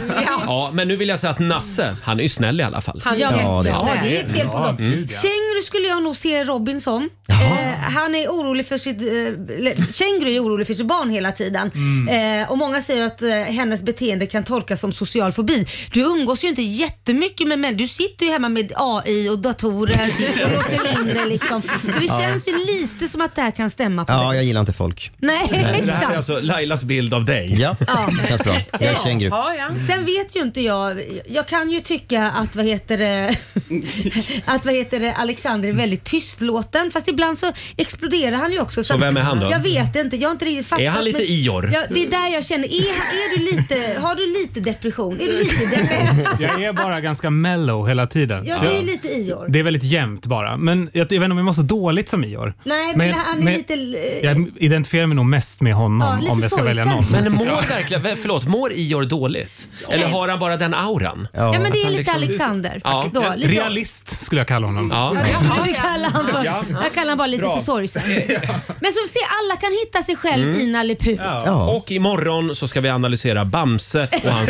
Ja. men nu vill jag säga att Nasse, han är ju snäll i alla fall. Han är ja, jättesnäll. ja, det är inget fel på dem. Mm. Känguru skulle jag nog se Robinson. Eh, han är orolig för sitt... Eh, eller, Känguru är orolig för sitt barn hela tiden. Mm. Eh, och många säger att eh, hennes beteende kan tolkas som social fobi. Du umgås ju inte jättemycket med människor. Du sitter ju hemma med AI och datorer och låser in dig liksom. Så det Ja. känns ju lite som att det här kan stämma på Ja, dig. jag gillar inte folk. Nej, Det här är exakt. alltså Lailas bild av dig. Ja, det känns bra. Jag är känguru. Sen vet ju inte jag. Jag kan ju tycka att vad heter det, att vad heter det, Alexander är väldigt tystlåten. Fast ibland så exploderar han ju också. Så att- vem är han då? Jag vet inte. Jag har inte riktigt fattat. Är han lite Ior? Ja, det är där jag känner. Är, är du lite, har du lite depression? Är du lite depression? Jag är bara ganska mellow hela tiden. Ja, Så du är jag- ju lite Ior. Det är väldigt jämnt bara. Men jag, jag vet inte om jag mår så dåligt som Ior. Nej, men, han är lite... eh, Jag identifierar mig nog mest med Ja, honom lite om jag ska välja sorgsen. någon. Men mår verkligen, vä- förlåt, mår Ior dåligt? Eller har han bara den auran? Ja, men att det är han lite liksom- Alexander. Ja. Då, lite- Realist skulle jag kalla honom. Ja, det skulle vi kalla han för. Ja. Jag kallar han bara lite Bra. för sorgsen. Men som vi ser, alla kan hitta sig själv Mm. i Nalle Puh. Ja. Och imorgon så ska vi analysera Bamse och hans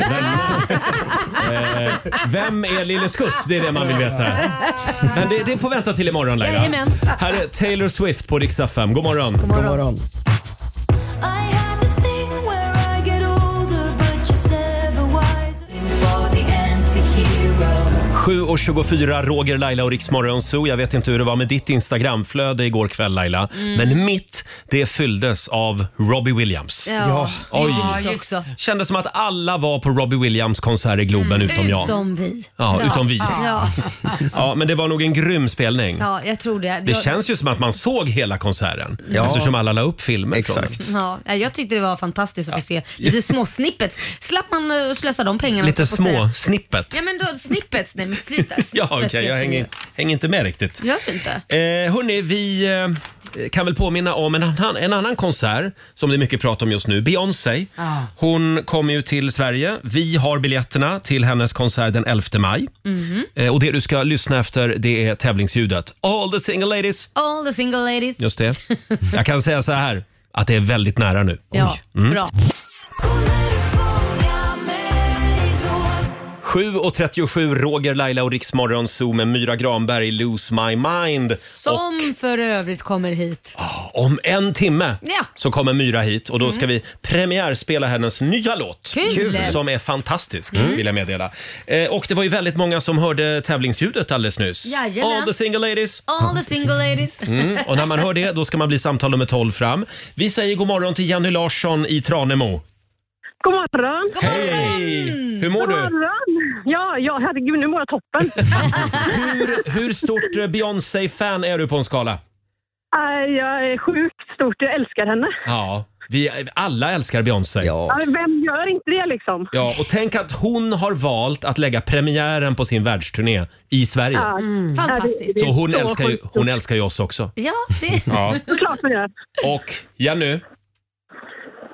vänner. eh, vem är Lille Skutt? Det är det man vill veta. Men det, det får vänta till imorgon Laila. Jajamän. Här är Taylor Swift på Rix FM. God morgon. God morgon. God morgon. I have this thing where I get older, but just never wiser. For the anti-hero. 7.24, Roger, Laila och Riksmorgon Zoo. Jag vet inte hur det var med ditt Instagramflöde igår kväll Laila. Mm. Men mitt, det fylldes av Robbie Williams. Ja. Oj. Ja, just det. Kändes som att alla var på Robbie Williams konsert i Globen utom jag. Mm. Utom vi. Ja, utom vi. Ja, Ja, men det var nog en grym spelning. ja jag tror det. Det Jag- känns ju som att man såg hela konserten Ja. eftersom alla la upp filmer från den. Ja, jag tyckte det var fantastiskt att få se lite små snippets. Slapp man eh, slösa de pengarna. Lite på att säga. små snippet. Ja men då, snippets. Nej men sluta. Ja, Snippets okej, jag heter hänger, hänger inte med riktigt. det. Gör du inte? Eh, hörni, vi eh, kan väl påminna om en annan, en annan konsert som det är mycket prat om just nu. Beyoncé. Ah. Ja. Hon kommer ju till Sverige. Vi har biljetterna till hennes konsert den 11 maj. Mhm. Eh, och det du ska lyssna efter det är tävlingsljudet. All the single ladies. All the single ladies. Just det. Jag kan säga så här, att det är väldigt nära nu. Ja, Mm. bra. 7.37, Roger, Laila och Riksmorgon Zoo med Myra Granberg, Lose My Mind. Som för övrigt kommer hit. Om en timme Ja. så kommer Myra hit och då ska Mm. vi premiärspela hennes nya låt. Kul. Kul. Som är fantastisk, Mm. vill jag meddela. Eh, och det var ju väldigt många som hörde tävlingsljudet alldeles nyss. Jajamän. All the single ladies. All the single ladies. Mm, och när man hör det, då ska man bli samtal nummer 12 fram. Vi säger god morgon till Jenny Larsson i Tranemo. God morgon! Hej! Mm. Hur mår God du? morgon! Ja, ja, herregud, nu mår jag toppen. Hur, hur stort eh, Beyoncé-fan är du på en skala? Äh, jag är sjukt stort, jag älskar henne. Ja, vi alla älskar Beyoncé. Ja, Vem gör inte det liksom? Ja, och tänk att hon har valt att lägga premiären på sin världsturné i Sverige. Mm. Ja, Fantastiskt. Så hon älskar, ju, hon älskar ju oss också. Ja, det... Ja. Såklart hon gör. Och Jenny,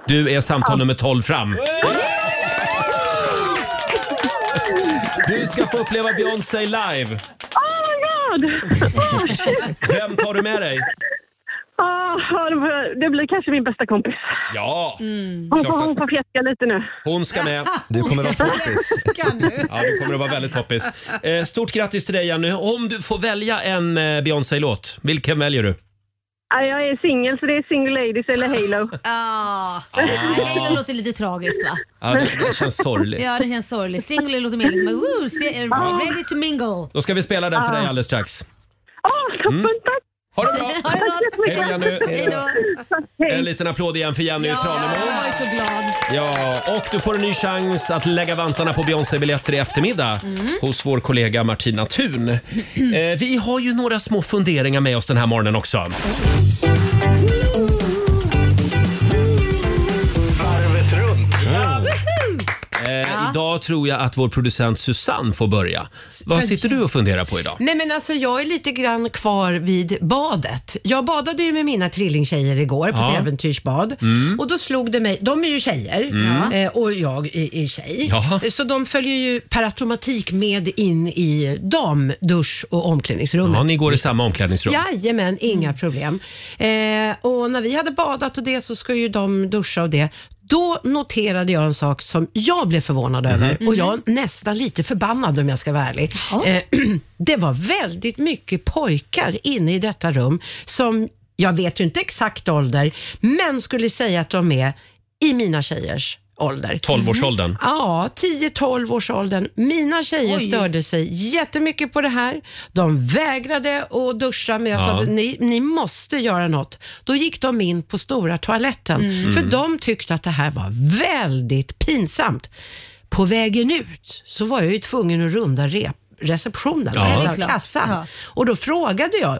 du är samtal nummer 12 fram. Du ska få uppleva Beyoncé live. Oh my god! Oh, shit. Vem tar du med dig? Ah, det var- det blir kanske min bästa kompis. Ja, Mm. Hon får, klart hon att får fjäska lite nu. hon ska med. Du kommer vara poppis. Ja, du kommer att vara väldigt poppis. Eh, Stort grattis till dig Jenny. Om du får välja en eh, Beyoncé-låt, vilken väljer du? Ah, jag är singel, så det är single ladies eller Halo. Ah. Ah. Halo låter lite tragiskt va? Ja, det, det känns sorgligt. Ja, det känns sorgligt. Single låter mer liksom woo, se- Ah. ready to mingle. Då ska vi spela den för Ja. dig alldeles strax. Mm. toppen, tack! Ha det bra! Ha det gott! Hej, Jenny. Hej då! En liten applåd igen för Jenny i Tranemo. Jag är så glad. Ja, och du får en ny chans att lägga vantarna på Beyoncé-biljetter i eftermiddag Mm. hos vår kollega Martina Thun. Eh, vi har ju några små funderingar med oss den här morgonen också. Varvet runt. Eh, Ja. Idag tror jag att vår producent Susanne får börja. Vad sitter du och funderar på idag? Nej men alltså jag är lite grann kvar vid badet. Jag badade ju med mina trillingtjejer igår på Ja. ett äventyrsbad. Mm. Och då slog det mig, de är ju tjejer Mm. eh, och jag är, är tjej. Jaha. Så de följer ju per automatik med in i damdusch och omklädningsrummet. Ja, ni går i samma omklädningsrum. Jajamän, inga problem. Eh, och när vi hade badat och det så ska ju de duscha och det. Då noterade jag en sak som jag blev förvånad över och jag är nästan lite förbannad om jag ska vara ärlig. Eh, det var väldigt mycket pojkar inne i detta rum som, jag vet ju inte exakt ålder, men skulle säga att de är i mina tjejers ålder. Mhm. 12-årsåldern. Ja, 10-12 års åldern. Mina tjejer Oj. störde sig jättemycket på det här. De vägrade att duscha, men jag sa Ja. att ni, ni måste göra något. Då gick de in på stora toaletten, Mm. för Mm. de tyckte att det här var väldigt pinsamt. På vägen ut så var jag ju tvungen att runda rep receptionen, Ja. Ja, det är eller klart. kassan. Ja. Och då frågade jag,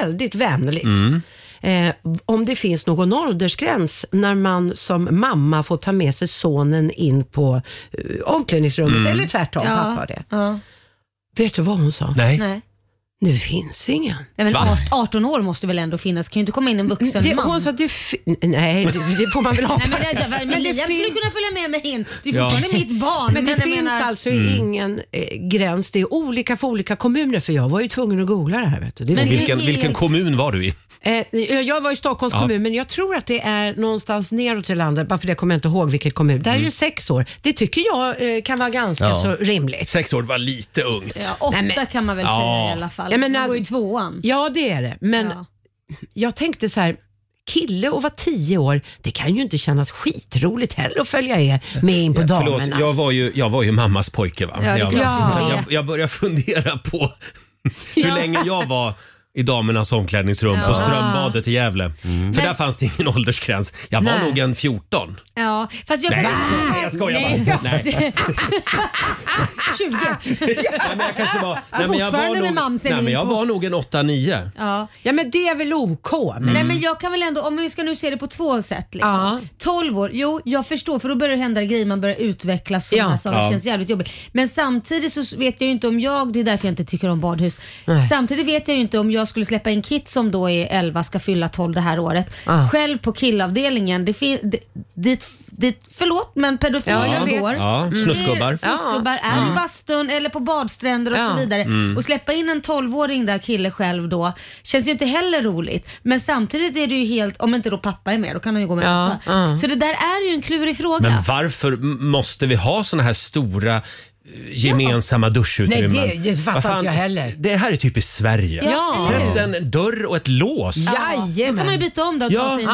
väldigt vänligt, Mm. eh, om det finns någon åldersgräns när man som mamma får ta med sig sonen in på eh, omklädningsrummet Mm. eller tvärtom, Ja. pappa och det. Ja. Vet du vad hon sa? Nej. Nej. Det finns ingen. Nej, men Va? 18 år måste väl ändå finnas? Kan ju inte komma in en vuxen Det- man. hon sa, det fi- nej, det, det får man väl ha. Nej, men det, det, men Men det Liam skulle kunna följa med mig in. Det är Ja. fortfarande mitt barn. Men det jag finns menar- alltså Mm. ingen eh, gräns. Det är olika för olika kommuner, för jag var ju tvungen att googla det här. Vet du. Det var Men vilken, vilken kommun var du i? Eh, jag var i Stockholms Ja. kommun, men jag tror att det är någonstans neråt i landet. Bara för det kommer jag inte ihåg vilket kommun. Mm. Där är det sex år. Det tycker jag eh, kan vara ganska så rimligt. Sex år var lite ungt. Ja, åtta kan man väl Ja. säga i alla fall. Ja, men man alltså- går ju i tvåan. Ja, det är det. Men jag tänkte så här, kille och vara tio år, det kan ju inte kännas skitroligt heller att följa er med in på Ja, damernas. Förlåt, jag var, ju, jag var ju mammas pojke va? Ja, det är jag, klart. så att Ja. jag, jag börjar fundera på hur länge jag var i damernas omklädningsrum Ja. Mm. på Strömbadet i Gävle. För där Men- fanns det ingen åldersgräns. Jag var Nej. nog en 14. Ja, fast jag Nej, kan- nej, jag skojar bara. Nej. 20. Nej, men jag kanske var... Nej, men jag Fortfarande var med nog, mamsen nej, men in jag på- var nog en 8-9. Ja. ja, men det är väl OK? men- Nej, men jag kan väl ändå, om vi ska nu se det på två sätt. Liksom. 12 år, jo jag förstår för då börjar det hända grejer, man börjar utvecklas och Ja. ja. saker Ja. känns jävligt jobbigt. Men samtidigt så vet jag ju inte om jag, det är därför jag inte tycker om badhus. Nej. Samtidigt vet jag ju inte om jag skulle släppa in Kit som då är 11, ska fylla 12 det här året, Ah. själv på killavdelningen. Det fin- det, dit, dit, förlåt men Ja, pedofiler jag vet. går. Ja, Mm. snuskgubbar. Snuskgubbar Ja. är Mm. i bastun eller på badstränder och Ja. så vidare. Mm. Och släppa in en 12-åring där kille själv då känns ju inte heller roligt. Men samtidigt är det ju helt, om inte då pappa är med, då kan han ju gå med Ja, pappa. Så det där är ju en klurig fråga. Men varför m- måste vi ha såna här stora eh, gemensamma duschutrymmen? Nej, det fattar Vad fan, inte jag heller. Det här är typiskt Sverige. Ja. Sätt en dörr och ett lås. Jajamän. Då kan man ju byta om det och ta Ja, sig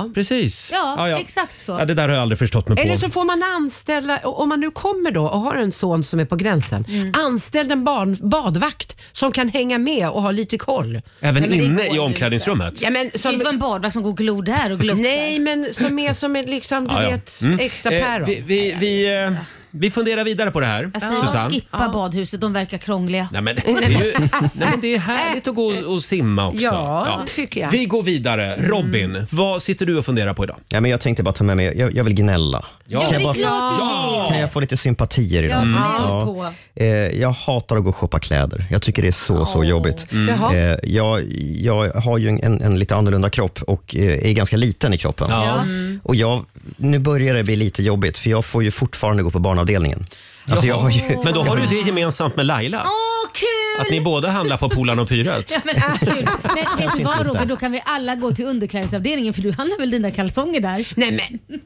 en dusch. precis. Ja, exakt så. Ja, det där har jag aldrig förstått mig på. Eller så får man anställa, och om man nu kommer då och har en son som är på gränsen, Mm. anställ en barn, badvakt som kan hänga med och ha lite koll. Även inne i omklädningsrummet? Ja, men, som, det inte vara en badvakt som går och glor där och gluttar. Nej, men som är som är liksom, du Ja, ja. vet, Mm. extra Eh, päron. vi, vi, vi, eh, vi funderar vidare på det här, Alltså, Jag säger bara Susanne. skippa badhuset, de verkar krångliga. Nej men, det är ju, nej men det är härligt att gå och, och simma också. Ja, det tycker jag. Vi går vidare. Robin, vad sitter du och funderar på idag? Ja, men jag tänkte bara ta med mig, jag, jag vill gnälla. Ja, det är klart du vill. kan jag få lite sympatier Ja, idag? gnäll på. Eh, jag hatar att gå och shoppa kläder. Jag tycker det är så, så jobbigt. Mm. Jaha. Eh, jag, jag har ju en, en lite annorlunda kropp och eh, är ganska liten i kroppen. Ja. Mm. Och jag, nu börjar det bli lite jobbigt, för jag får ju fortfarande gå på barnavdelningen. Alltså, jag har ju, Men då har du det gemensamt med Laila. Åh, kul! Att ni båda handlar på Polarn och Pyret. Ja, men, ah, kul. men vet du Kanske vad inte Robert, där. då kan vi alla gå till underklädesavdelningen för du handlar väl dina kalsonger där? Nej men.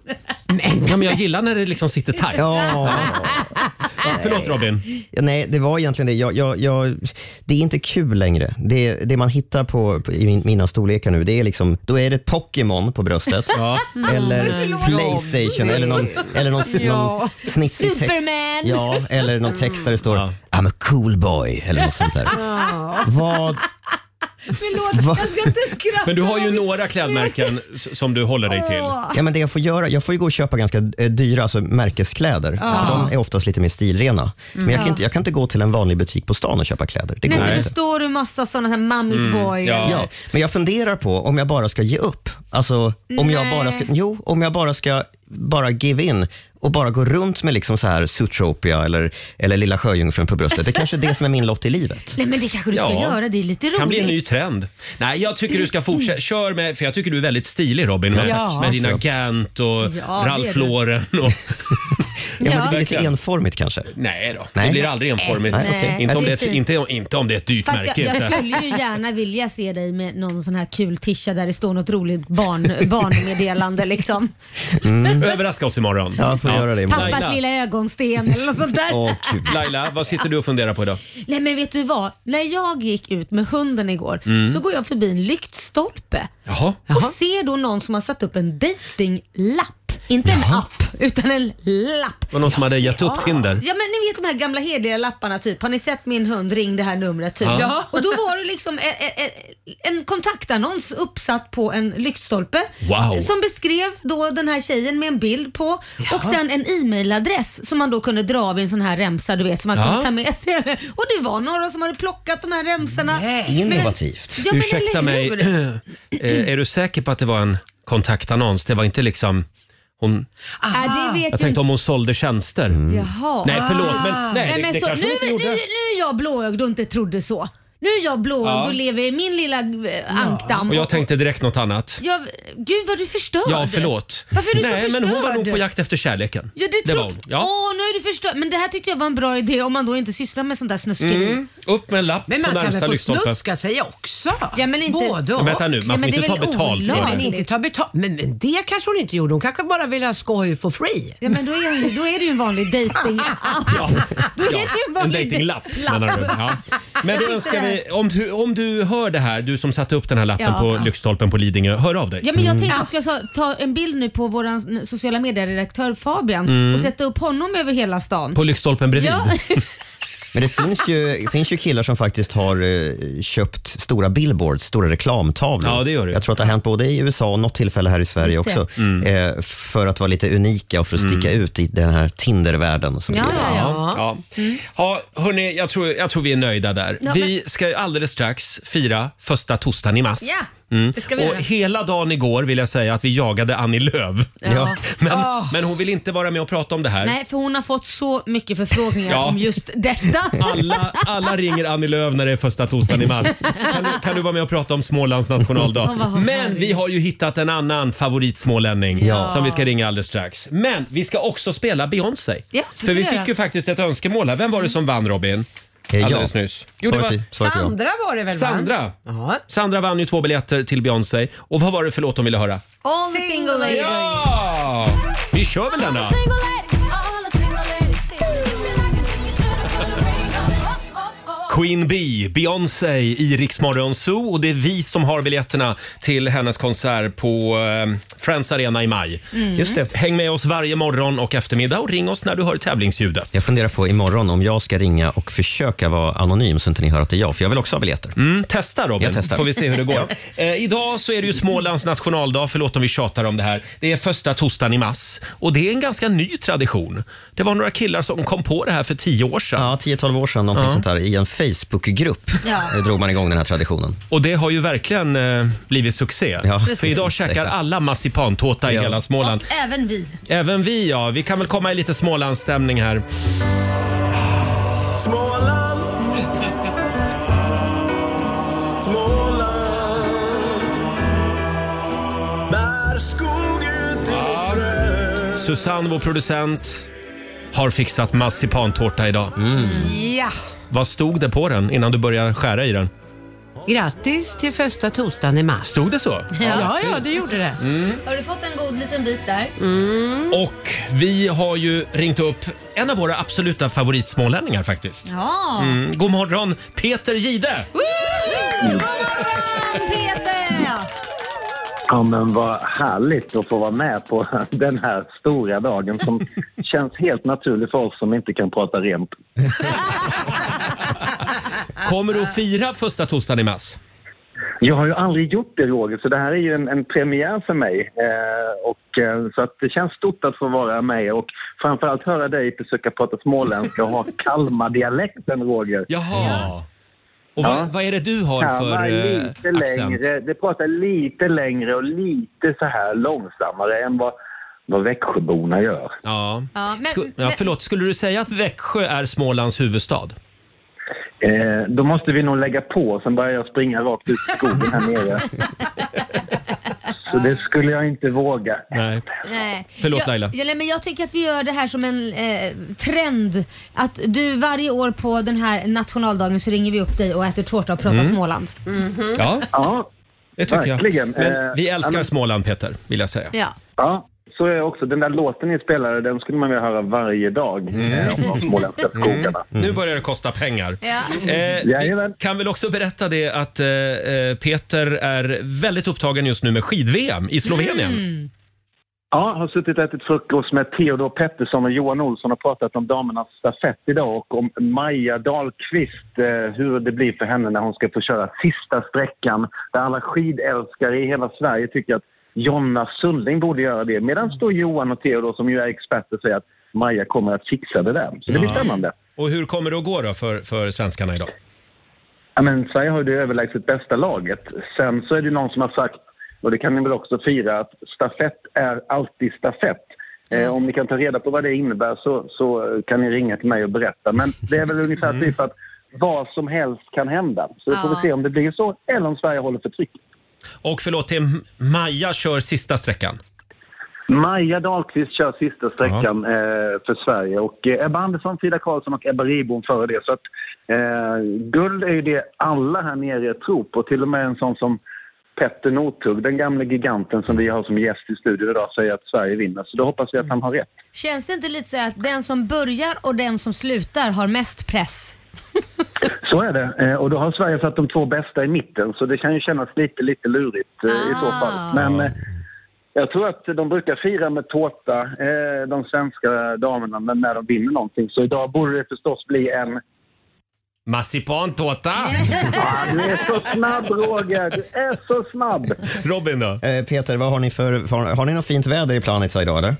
Ja, men jag gillar när det liksom sitter tajt. Ja. Ja, Förlåt Robin. Ja, Nej, det var egentligen det. Jag, jag, jag, det är inte kul längre. Det, det man hittar på, på, i min- mina storlekar nu, det är liksom, då är det Pokémon på bröstet. Ja. Eller Mm. Playstation, eller någon, eller någon, Ja. någon snitsig text. Superman. Ja, eller någon text där det står “I'm a cool boy” eller något sånt där. Vad... Förlåt, Va? jag ska inte skratta. Men du har ju några klädmärken s- som du håller dig till. Ja, men det jag, får göra, jag får ju gå och köpa ganska eh, dyra alltså märkeskläder. Ja. För de är oftast lite mer stilrena. Men jag kan, Ja. inte, jag kan inte gå till en vanlig butik på stan och köpa kläder. Det Nej, går för då inte. står du massa sådana här mummies Mm, boy. Ja. men jag funderar på om jag bara ska ge upp. Alltså, om jag Nej. bara ska, jo, om jag bara ska bara give in och och bara gå runt med liksom så här Zootropia eller, eller Lilla Sjöjungfrun på bröstet. Det är kanske är det som är min lott i livet. Nej men det kanske du ska Ja. göra, det är lite roligt. Mm. kan bli en ny trend. Nej, jag tycker du ska fortsätta. Kör med, för jag tycker du är väldigt stilig Robin. Med, Ja. med dina Gant och Ja, det är Ralph du. Lauren. Och, Ja, men det blir lite Verkligen. enformigt kanske. Nej då, Nej. det blir aldrig enformigt. Nej, okej. Inte, om Det det är är ett, fint. inte, inte om det är ett dyrt Fast jag, märke. jag inte. skulle ju gärna vilja se dig med någon sån här kul tisha där det står något roligt barn, barnmeddelande liksom. Mm. Överraska oss imorgon. Ja, får göra det Pappas Laila, lilla ögonsten eller något sånt där. Laila, vad sitter du och funderar på idag? Nej men vet du vad? När jag gick ut med hunden igår Mm. så går jag förbi en lyktstolpe Jaha. och ser då någon som har satt upp en datinglapp. Inte en app, utan en lapp. Det var någon som hade gett upp Tinder. Ja men ni vet de här gamla hederliga lapparna typ. Har ni sett min hund? Ring det här numret typ. Ja. Ja. Och då var det liksom en, en kontaktannons uppsatt på en lyktstolpe. Wow. Som beskrev då den här tjejen med en bild på Ja. och sen en e-mailadress som man då kunde dra av i en sån här remsa du vet som man Ja. kunde ta med sig. Och det var några som hade plockat de här remsorna. Innovativt. Men, ja, men Ursäkta eller mig, hur? eh, är du säker på att det var en kontaktannons? Det var inte liksom hon... Nej, det vet Jag ju tänkte om hon sålde tjänster. Jaha. Ah. Nej, förlåt, men- nej, det- det så, kanske nu, hon inte nu, gjorde. nu är jag blåögd och inte trodde så. Nu är jag blåögd Ja. och lever i min lilla eh, ankdamm. Och jag tänkte direkt något annat. Jag, gud vad du förstörd. Ja, förlåt. Varför är du Nej, så förstörd? men hon var nog på jakt efter kärleken. Ja, det, var var hon. Ja. Åh, nu är du förstörd. Men det här tyckte jag var en bra idé om man då inte sysslar med sånt där snuskeri. Mm. Upp med en lapp Men man på kan väl närmsta få lyktstolpe. snusk? Ska säga också. Ja, men inte- Både Men och. vänta nu, man Ja, får men inte det är ta väl betalt för det? Men, inte ta betalt. Men, men det kanske hon inte gjorde. Hon kanske bara ville ha skoj for free. Ja, men då är, hon ju- då är det ju en vanlig dejting. Ja. Då är det ju Ja, en en vanlig dejtinglapp dej- menar du? Ja. Men Jag då tyckte önskar det här- vi, om, du, om du hör det här, du som satte upp den här lappen Ja. på lyktstolpen på Lidingö, hör av dig. Mm. Ja, men jag tänkte att jag ska ta en bild nu på vår sociala medieredaktör Fabian Mm. och sätta upp honom över hela stan. På lyktstolpen bredvid? Ja, Men det finns ju, det finns ju killar som faktiskt har eh, köpt stora billboards, stora reklamtavlor. Ja, det gör det. Jag tror att det har hänt både i USA och något tillfälle här i Sverige Just det. också. Eh, för att vara lite unika och för att sticka ut i den här Tinder-världen. som Ja, vi lever i. ja, Mm. ja. Ja, hörni, jag tror, jag tror vi är nöjda där. Ja, vi ska ju alldeles strax fira första torsdagen i mars. Mm. Ja, det ska vi Och göra. hela dagen igår vill jag säga att vi jagade Annie Lööf. Ja. Men, Ah. men hon vill inte vara med och prata om det här. Nej, för hon har fått så mycket förfrågningar Ja. om just detta. Alla, alla ringer Annie Lööf när det är första torsdagen i mars. Kan du, kan du vara med och prata om Smålands nationaldag? Ja, vad har Men vi har ju hittat en annan favoritsmålänning Ja. som vi ska ringa alldeles strax. Men vi ska också spela Beyoncé. Ja, det ska För vi vi fick göra. ju faktiskt ett önskemål här. Vem var det som vann Robin? jag. Alldeles nyss. det Eh, Svaret var- i- svaret är jag. Sandra var det väl? va? Sandra. Sandra vann ju två biljetter till Beyoncé. Och vad var det för låt hon ville höra? All the single ladies. Ja! Vi kör väl den då. Queen Bee, Beyoncé i Rix Morgon Zoo och det är vi som har biljetterna till hennes konsert på eh, Friends Arena i maj. Mm. Just det. Häng med oss varje morgon och eftermiddag och ring oss när du hör tävlingsljudet. Jag funderar på imorgon om jag ska ringa och försöka vara anonym så inte ni hör att det är jag, för jag vill också ha biljetter. Mm, testa Robin, Jag testar. får vi se hur det går. Ja. eh, idag så är det ju Smålands nationaldag, förlåt om vi tjatar om det här. Det är första torsdagen i mars och det är en ganska ny tradition. Det var några killar som kom på det här för tio år sedan. Ja, 10-12 år sedan, någonting Ja. sånt där, i en Facebookgrupp Ja. eh, drog man igång den här traditionen. Och det har ju verkligen eh, blivit succé. Ja. Precis. För idag käkar alla marsipantårta i hela Småland. Även vi. Även vi ja, vi kan väl komma i lite Smålandsstämning här. Småland Småland Bär skog ut i mitt bröst Susanne, vår producent, har fixat marsipantårta idag. Mm. Ja. Vad stod det på den innan du började skära i den? Grattis till första torsdagen i mars. Stod det så? Ja, ja, du gjorde det. Mm. Har du fått en god liten bit där? Och vi har ju ringt upp en av våra absoluta favoritsmålänningar faktiskt. Ja. Mm. God morgon, Peter Gide! Peter! Ja, men vad härligt att få vara med på den här stora dagen som känns helt naturlig för oss som inte kan prata rent. Kommer du att fira första torsdagen i mars? Jag har ju aldrig gjort det, Roger, så det här är ju en, en premiär för mig. Eh, och, eh, så att det känns stort att få vara med och framförallt höra dig försöka prata småländska och ha Kalmardialekten, Roger. Jaha. Och vad, vad är det du har Kalmar för eh, lite accent? längre, det pratar lite längre och lite så här långsammare än vad vad Växjöborna gör. Ja. Ja, men- Mm. Sku- ja, förlåt, skulle du säga att Växjö är Smålands huvudstad? Eh, då måste vi nog lägga på, sen börjar jag springa rakt ut i skogen här nere. Så det skulle jag inte våga. Nej. Nej. Förlåt, jag, Laila. Ja, nej, men jag tycker att vi gör det här som en eh, trend. Att du varje år på den här nationaldagen så ringer vi upp dig och äter tårta och pratar Mm. Småland. Mm-hmm. Ja, det tycker verkligen. jag. Men Eh, vi ja, älskar men- Småland, Peter, vill jag säga. Ja. Ja, så är jag också. Den där låten ni spelade, den skulle man vilja höra varje dag. Mm. eh, Om de småländska skogarna. Nu börjar det kosta pengar. Ja. Eh, vi kan väl också berätta det att eh, eh, Peter är väldigt upptagen just nu med skid-VM i Slovenien. Mm. Ja, har suttit och ätit frukost med Theodor Pettersson och Johan Olsson och pratat om damernas stafett idag och om Maja Dahlqvist, eh, hur det blir för henne när hon ska få köra sista sträckan där alla skidälskare i hela Sverige tycker att Jonna Sundling borde göra det. Medan då Johan och Theodor som ju är experter säger att Maja kommer att fixa det där. Så det blir Ja. spännande. Och hur kommer det att gå då för, för svenskarna idag? Ja, men Sverige har ju det överlägset bästa laget. Sen så är det ju någon som har sagt, och det kan ni väl också fira, att stafett är alltid stafett. Eh, om ni kan ta reda på vad det innebär så, så kan ni ringa till mig och berätta. Men det är väl ungefär typ att vad som helst kan hända. Så vi får Ja. vi se om det blir så, eller om Sverige håller för tryck. Och förlåt, det är M- Maja kör sista sträckan. Maja Dahlqvist kör sista sträckan eh, för Sverige och eh, Ebba Andersson, Frida Karlsson och Ebba Ribom före det. Så att, eh, guld är ju det alla här nere tror på, till och med en sån som Petter Northug, den gamla giganten som vi har som gäst i studion idag, säger att Sverige vinner. Så då hoppas vi att han har rätt. Känns det inte lite så här att den som börjar och den som slutar har mest press? Så är det. Eh, och då har Sverige satt de två bästa i mitten, så det kan ju kännas lite, lite lurigt eh, i så fall. Men eh, jag tror att de brukar fira med tårta, eh, de svenska damerna, när- när de vinner någonting. Så idag borde det förstås bli en... Massipantårta! Ah, du är så snabb, Roger! Du är så snabb! Robin då? Eh, Peter, vad har ni för, för, har ni något fint väder i Planica idag eller?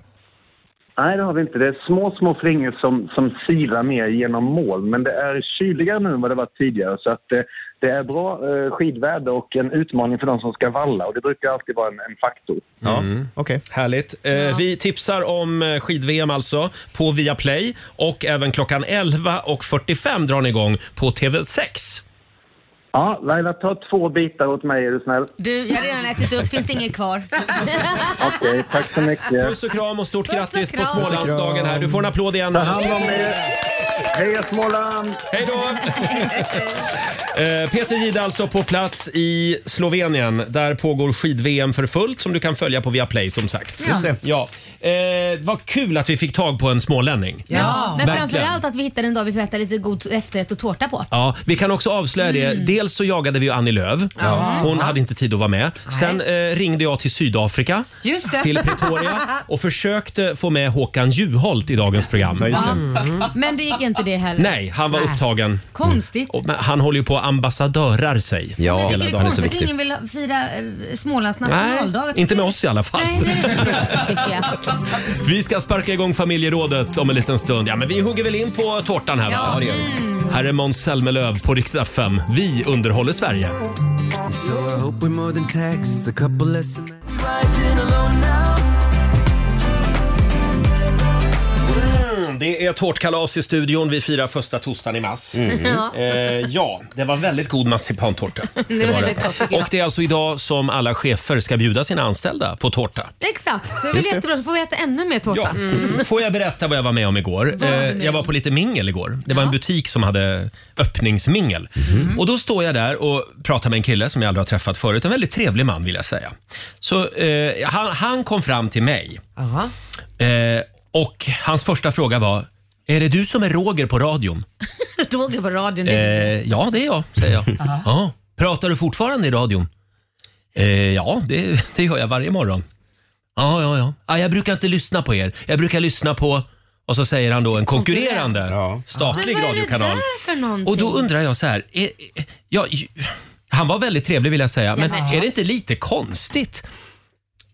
Nej, det har vi inte. Det är små, små flingor som, som silar ner genom mål. Men det är kyligare nu än vad det var tidigare. Så att, eh, det är bra eh, skidväder och en utmaning för de som ska valla. Och det brukar alltid vara en, en faktor. Ja, okay. Härligt. Eh, Vi tipsar om eh, skid-VM alltså på Viaplay och även klockan 11.45 drar ni igång på TV6. Ja, Laila, ta två bitar åt mig är du snäll. Du, jag har redan ätit upp, finns inget kvar. Okej, tack så mycket. Puss och kram och stort Puss och grattis på kram. Smålandsdagen här. Du får en applåd igen. Ta hand om er. Heja Småland! Hej då! Eh, Peter Gide alltså på plats i Slovenien. Där pågår skid-VM för fullt som du kan följa på Viaplay som sagt. Ja. Just det. Ja. Eh, vad kul att vi fick tag på en smålänning. Men Verkligen. framförallt att vi hittar en dag vi får äta lite god efterrätt och tårta på. Ja, vi kan också avslöja det. Dels så jagade vi ju Annie Lööf. Mm. Ja. Hon hade inte tid att vara med. Sen eh, ringde jag till Sydafrika, Just det. till Pretoria och försökte få med Håkan Juholt i dagens program. Men det gick inte det heller. Mm. Nej, han var upptagen. Mm. Konstigt. Och, men han håller ju på att ambassadörar sig Men jag tycker det hela är dagen. konstigt att ingen vill fira eh, Smålands Nej, nationaldag. Jag inte tycker- med oss i alla fall. Nej, det är det tycker jag. Vi ska sparka igång familjerådet om en liten stund. Ja, men vi hugger väl in på tårtan här va? Ja, det gör Mm. Här är Måns Zelmerlöw på Rix FM. Vi underhåller Sverige. So I hope we're more than texts, a couple less. Mm, det är tårtkalas i studion. Vi firar första torsdagen i mars. Mm. Ja. Eh, ja, det var väldigt god massipantårta. Det var väldigt gott, tycker jag. Och det är alltså idag som alla chefer ska bjuda sina anställda på tårta. Exakt, så det är väl Just det. jättebra. Så får vi äta ännu mer tårta. Ja. Får jag berätta vad jag var med om igår? Mm. Vad var du Eh, med jag var på lite mingel igår. Det var en butik som hade öppningsmingel. Mm. Och då står jag där och pratar med en kille som jag aldrig har träffat förut. En väldigt trevlig man vill jag säga. Så eh, han, han kom fram till mig eh, och hans första fråga var är det du som är Roger på radion? Roger på radion. Eh, ja, det är jag, säger jag. ja. Pratar du fortfarande i radion? Eh, ja, det, det gör jag varje morgon. Ja, ja, ja. Ah, jag brukar inte lyssna på er. Jag brukar lyssna på... Och så säger han då en konkurrerande statlig Men vad är det radiokanal. där för någonting? Och då undrar jag så här. Är, är- ja, ju- han var väldigt trevlig vill jag säga, men men- är det inte lite konstigt?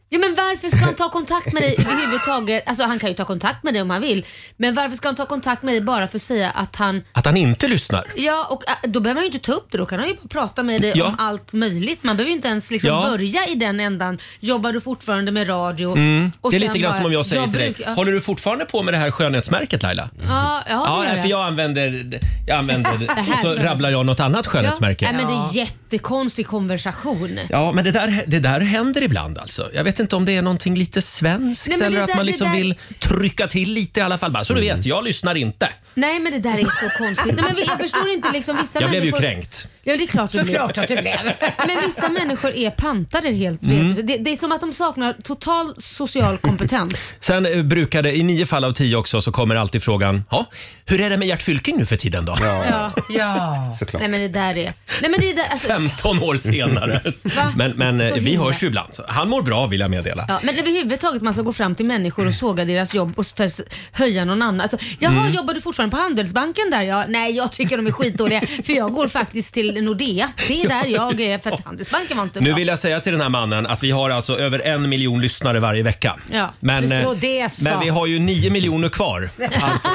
Ja, men varför ska han ta kontakt med dig överhuvudtaget? Alltså han kan ju ta kontakt med dig om han vill. Men varför ska han ta kontakt med dig bara för att säga att han Att han inte lyssnar. Ja, och äh, då behöver man ju inte ta upp det. Då kan han ju bara prata med dig Ja. om allt möjligt. Man behöver ju inte ens liksom Ja. börja i den ändan. Jobbar du fortfarande med radio? Mm. Och Det är sen lite grann bara- som om jag säger till dig, brukar- håller du fortfarande på med det här skönhetsmärket Laila? Ja, ja, det gör nej, för jag använder, jag använder Det här och så känns- rabblar jag något annat skönhetsmärke. Ja. Nej, men det är en jättekonstig konversation. Ja, men det där, det där händer ibland alltså. Jag vet inte om det är någonting lite svenskt Nej, men eller det att där- man det liksom där- vill trycka till lite i alla fall. Bara, så du vet, jag lyssnar inte. Nej men det där är så konstigt. Nej, men jag förstår inte liksom vissa Jag blev ju människor... kränkt. Ja det är klart du Såklart blev. att du blev. Men vissa människor är pantade helt Mm. mm. det, det är som att de saknar total social kompetens. Sen eh, brukade, i nio fall av tio också, så kommer alltid frågan, ja, hur är det med Gert Fylking nu för tiden då? ja. ja. Såklart. Nej men det där är... Nej men det där, alltså, 15 år senare. Va? Men, men eh, Så vi himla. hörs ju ibland. så Han mår bra vill jag meddela. Ja, men överhuvudtaget man ska gå fram till människor och såga deras jobb och för att höja någon annan. Alltså, jaha, Mm. jobbar du fortfarande på Handelsbanken där? Ja, nej, jag tycker de är skitdåliga för jag går faktiskt till Nordea. Det är där jag är för att Handelsbanken var inte Nu bra. vill jag säga till den här mannen att vi har alltså över en miljon lyssnare varje vecka. Ja. Men, eh, Så det är så. men vi har ju nio miljoner kvar att,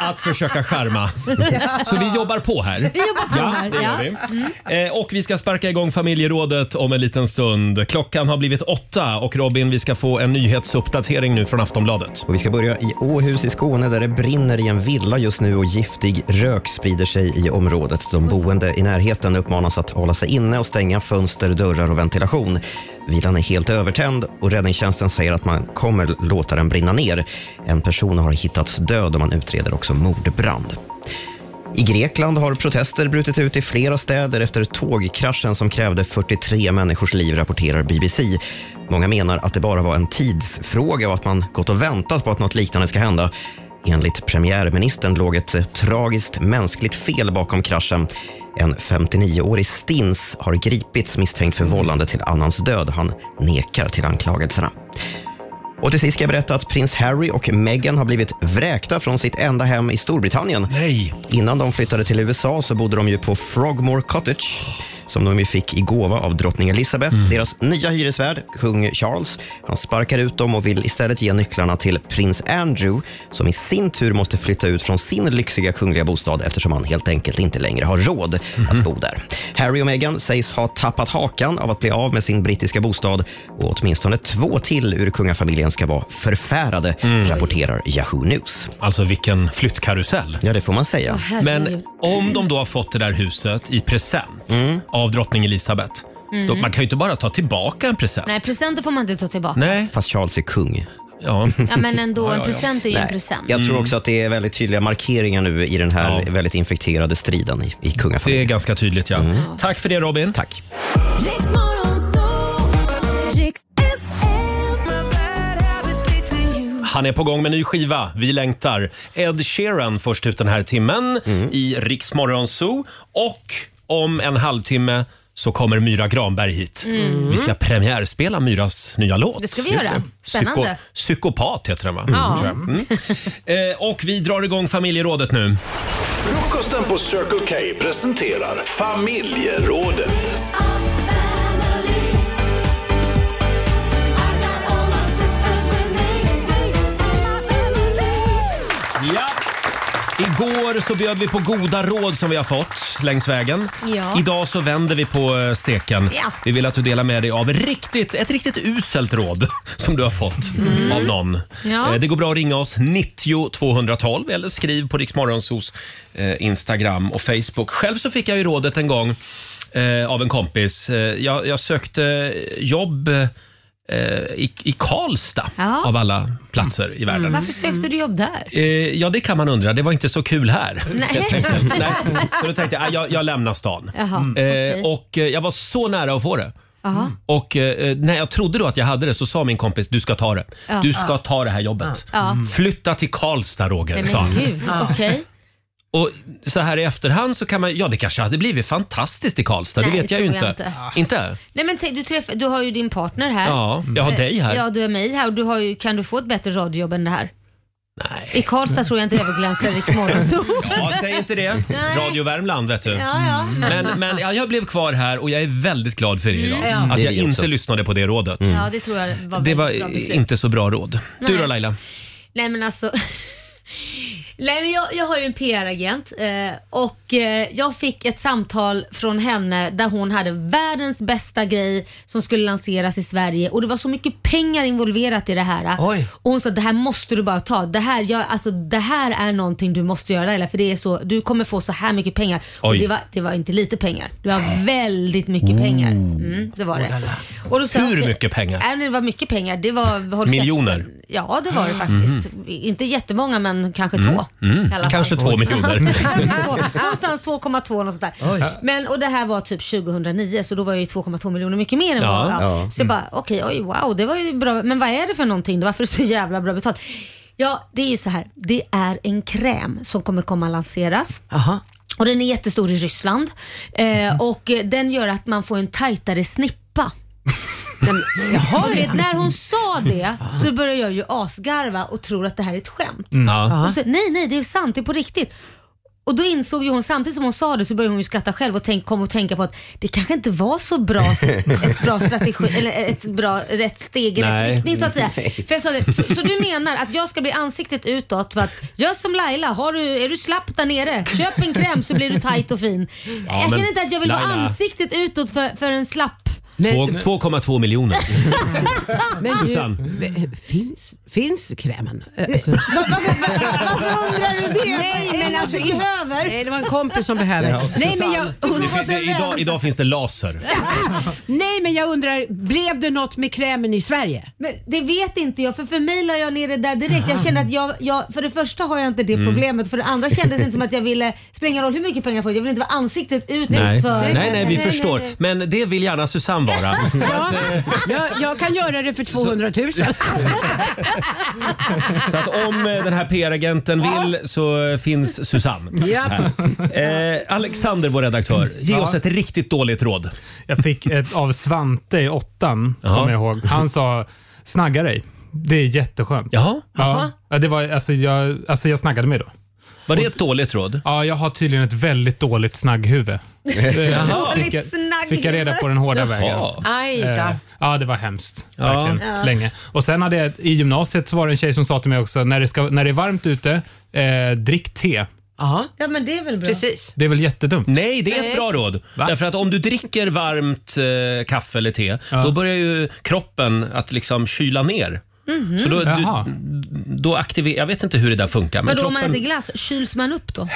att försöka skärma. Så vi jobbar på här. Vi jobbar på ja, här. Det gör ja. vi. Mm. Eh, Och vi ska sparka igång familjerådet om en liten stund. Klockan har blivit åtta och Robin, vi ska få en nyhetsuppdatering nu från Aftonbladet. Och vi ska börja i Åhus i Skåne där det brinner i en villa just nu och giftig rök sprider sig i området. De boende i närheten uppmanas att hålla sig inne och stänga fönster, dörrar och ventilation. Villan är helt övertänd och räddningstjänsten säger att man kommer låta den brinna ner. En person har hittats död och man utreder också mordbrand. I Grekland har protester brutit ut i flera städer efter tågkraschen som krävde 43 människors liv, rapporterar BBC. Många menar att det bara var en tidsfråga och att man gått och väntat på att något liknande ska hända. Enligt premiärministern låg ett eh, tragiskt mänskligt fel bakom kraschen. En 59-årig stins har gripits misstänkt för vållande till annans död. Han nekar till anklagelserna. Och till sist ska jag berätta att prins Harry och Meghan har blivit vräkta från sitt enda hem i Storbritannien. Nej. Innan de flyttade till USA så bodde de ju på Frogmore Cottage som de ju fick i gåva av drottning Elizabeth. Deras nya hyresvärd, kung Charles, han sparkar ut dem och vill istället ge nycklarna till prins Andrew som i sin tur måste flytta ut från sin lyxiga kungliga bostad eftersom han helt enkelt inte längre har råd Mhm. att bo där. Harry och Meghan sägs ha tappat hakan av att bli av med sin brittiska bostad och åtminstone två till ur kungafamiljen ska vara förfärade, rapporterar Yahoo News. Mm. Alltså vilken flyttkarusell. Ja, det får man säga. Men om de då har fått det där huset i present av drottning Elisabeth. Då, Mm. man kan ju inte bara ta tillbaka en present. Nej, presenter får man inte ta tillbaka. Nej. Fast Charles är kung. Ja, Mm. Ja, men ändå, en present är ju en present. Jag tror också att det är väldigt tydliga markeringar nu i den här väldigt infekterade striden i, i kungafamiljen. Mm. Det är ganska tydligt, ja. Tack för det, Robin. Tack. Han är på gång med ny skiva. Vi längtar. Ed Sheeran först ut den här timmen i Rix Morgon Zoo. Och om en halvtimme så kommer Myra Granberg hit. Mm. Vi ska premiärspela Myras nya låt. Det ska vi göra. Spännande. Psyko- psykopat heter den, va? Ja. Tror jag. Mm. Eh, och vi drar igång familjerådet nu. Frukosten på Circle K presenterar familjerådet. Ja. Igår så bjöd vi på goda råd som vi har fått längs vägen. Ja. Idag så vänder vi på eh, steken. Ja. Vi vill att du delar med dig av riktigt, ett riktigt uselt råd som du har fått Mm. av någon. Ja. Eh, Det går bra att ringa oss 90 212 eller skriv på Riksmorgonsos eh, Instagram och Facebook. Själv så fick jag ju rådet en gång eh, av en kompis. Eh, Jag, jag sökte jobb eh, i, i Karlstad Ja. Mm, av alla platser i världen. Varför sökte du jobb där? Eh, ja, det kan man undra. Det var inte så kul här. Nej. helt enkelt. Nej. Så då tänkte jag, ah, jag, jag lämnar stan. Jaha, okej. eh, och eh, jag var så nära att få det. Jaha. Och eh, när jag trodde då att jag hade det så sa min kompis, du ska ta det. Ja. Du ska Ja. ta det här jobbet. Mm. Ja. Flytta till Karlstad Roger, Nej sa men han. gud, okej. Och så här i efterhand så kan man, ja det kanske hade blivit fantastiskt i Karlstad, Nej, det vet det jag ju tror inte. jag inte. Inte? Nej men tänk, du, träffar, du har ju din partner här. Ja, jag har Eh, dig här. Ja, du har mig här och du har ju, kan du få ett bättre radiojobb än det här? I Karlstad tror jag inte överglänsar Riks Morgonzoo. Ja, säg inte det. Nej. Radio Värmland vet du. Ja, ja. Mm. Men, men ja, jag blev kvar här och jag är väldigt glad för det idag. Mm. Ja. Att Det är jag vi inte också. lyssnade på det rådet. Ja, det tror jag var Mm. Det väldigt var bra beslut. inte så bra råd. Du Nej. då Laila? Nej men alltså. Nej, men jag, jag har ju en PR-agent eh, och eh, jag fick ett samtal från henne där hon hade världens bästa grej som skulle lanseras i Sverige och det var så mycket pengar involverat i det här. Och hon sa det här måste du bara ta. Det här, jag, alltså, det här är någonting du måste göra Laila för det är så, du kommer få så här mycket pengar. Och Oj. det, var, det var inte lite pengar, det var väldigt mycket pengar. Mm, det var det. Och då sa jag, Hur okej. mycket pengar? Nej, Äh, men det var mycket pengar. Det var, håll käften. Miljoner? Ja, det var det faktiskt. Inte jättemånga, men kanske två. Mm. i alla fall. Kanske två miljoner. Någonstans 2,2 något sånt där. Oj. Men, och det här var typ 2009, så då var jag ju 2,2 miljoner mycket mer än Ja, vad jag var. ja. Mm. Så jag bara, okej, oj, wow, det var ju bra. Men vad är det för någonting då? Varför är det så jävla bra betalt? Ja, det är ju så här. Det är en kräm som kommer komma lanseras. Och den är jättestor i Ryssland. Eh, och eh, den gör att man får en tajtare snippa. Jaha, och vet, när hon sa det så började jag ju asgarva och tror att det här är ett skämt. Mm. Ja. Och så, nej, nej, det är sant, det är på riktigt. Och då insåg ju hon, samtidigt som hon sa det så började hon ju skratta själv och tänk, kom och tänka på att det kanske inte var så bra, ett bra strategi, eller ett bra, rätt steg i Nej. rätt riktning så att säga. Nej. För jag sa det, så, så du menar att jag ska bli ansiktet utåt för att, gör som Laila, har du, är du slapp där nere, köp en kräm så blir du tajt och fin. Ja, jag men känner inte att jag vill vara Laila- ansiktet utåt för, för en slapp. Två- 2,2 miljoner. Men du, Susanne. be- finns, finns krämen? Eh, Alltså. Varför undrar du det? Nej, Är det men någon alltså, som in- behöver? Nej, det var en kompis som behöver. Ja, och alltså, så nej, men jag, Det fin- det- idag, idag finns det laser. nej, men jag undrar, blev det något med krämen i Sverige? Men det vet inte jag för för mig la jag ner det där direkt. Jag kände att jag, jag för det första har jag inte det Mm. problemet. För det andra kändes det inte som att jag ville, spelar ingen roll hur mycket pengar jag får, jag vill inte vara ansiktet utåt Nej. för... nej, nej, vi förstår. Men det vill gärna Susanne vara. Så att, eh, Jag, jag kan göra det för 200 000. Så att om eh, den här PR-agenten vill så eh, finns Susanne. Ja. här. Eh, Alexander, vår redaktör, ge Ja. oss ett riktigt dåligt råd. Jag fick ett av Svante i åttan, kommer jag ihåg. Han sa “snagga dig”. Det är jätteskönt. Jaha. Ja, Ja, det var, alltså, jag, alltså, jag snaggade mig då. Var det ett dåligt råd? Ja, jag har tydligen ett väldigt dåligt snagghuvud. Eh, Jaha. Fick, jag, Dåligt fick jag reda på den hårda Jaha. vägen. Aj då. Eh, Ja, det var hemskt. Ja. Verkligen. Ja. Länge. Och sen hade jag, i gymnasiet så var det en tjej som sa till mig också, när det, ska, när det är varmt ute, eh, drick te. Ja men det är väl bra. Precis. Det är väl jättedumt? Nej, det är ett bra råd. Därför att om du dricker varmt eh, kaffe eller te, då börjar ju kroppen att liksom kyla ner. Mhm. Så då, Mm. du, Jaha. då aktiverar... Jag vet inte hur det där funkar. Men Men då om man kroppen, äter glass, kyls man upp då?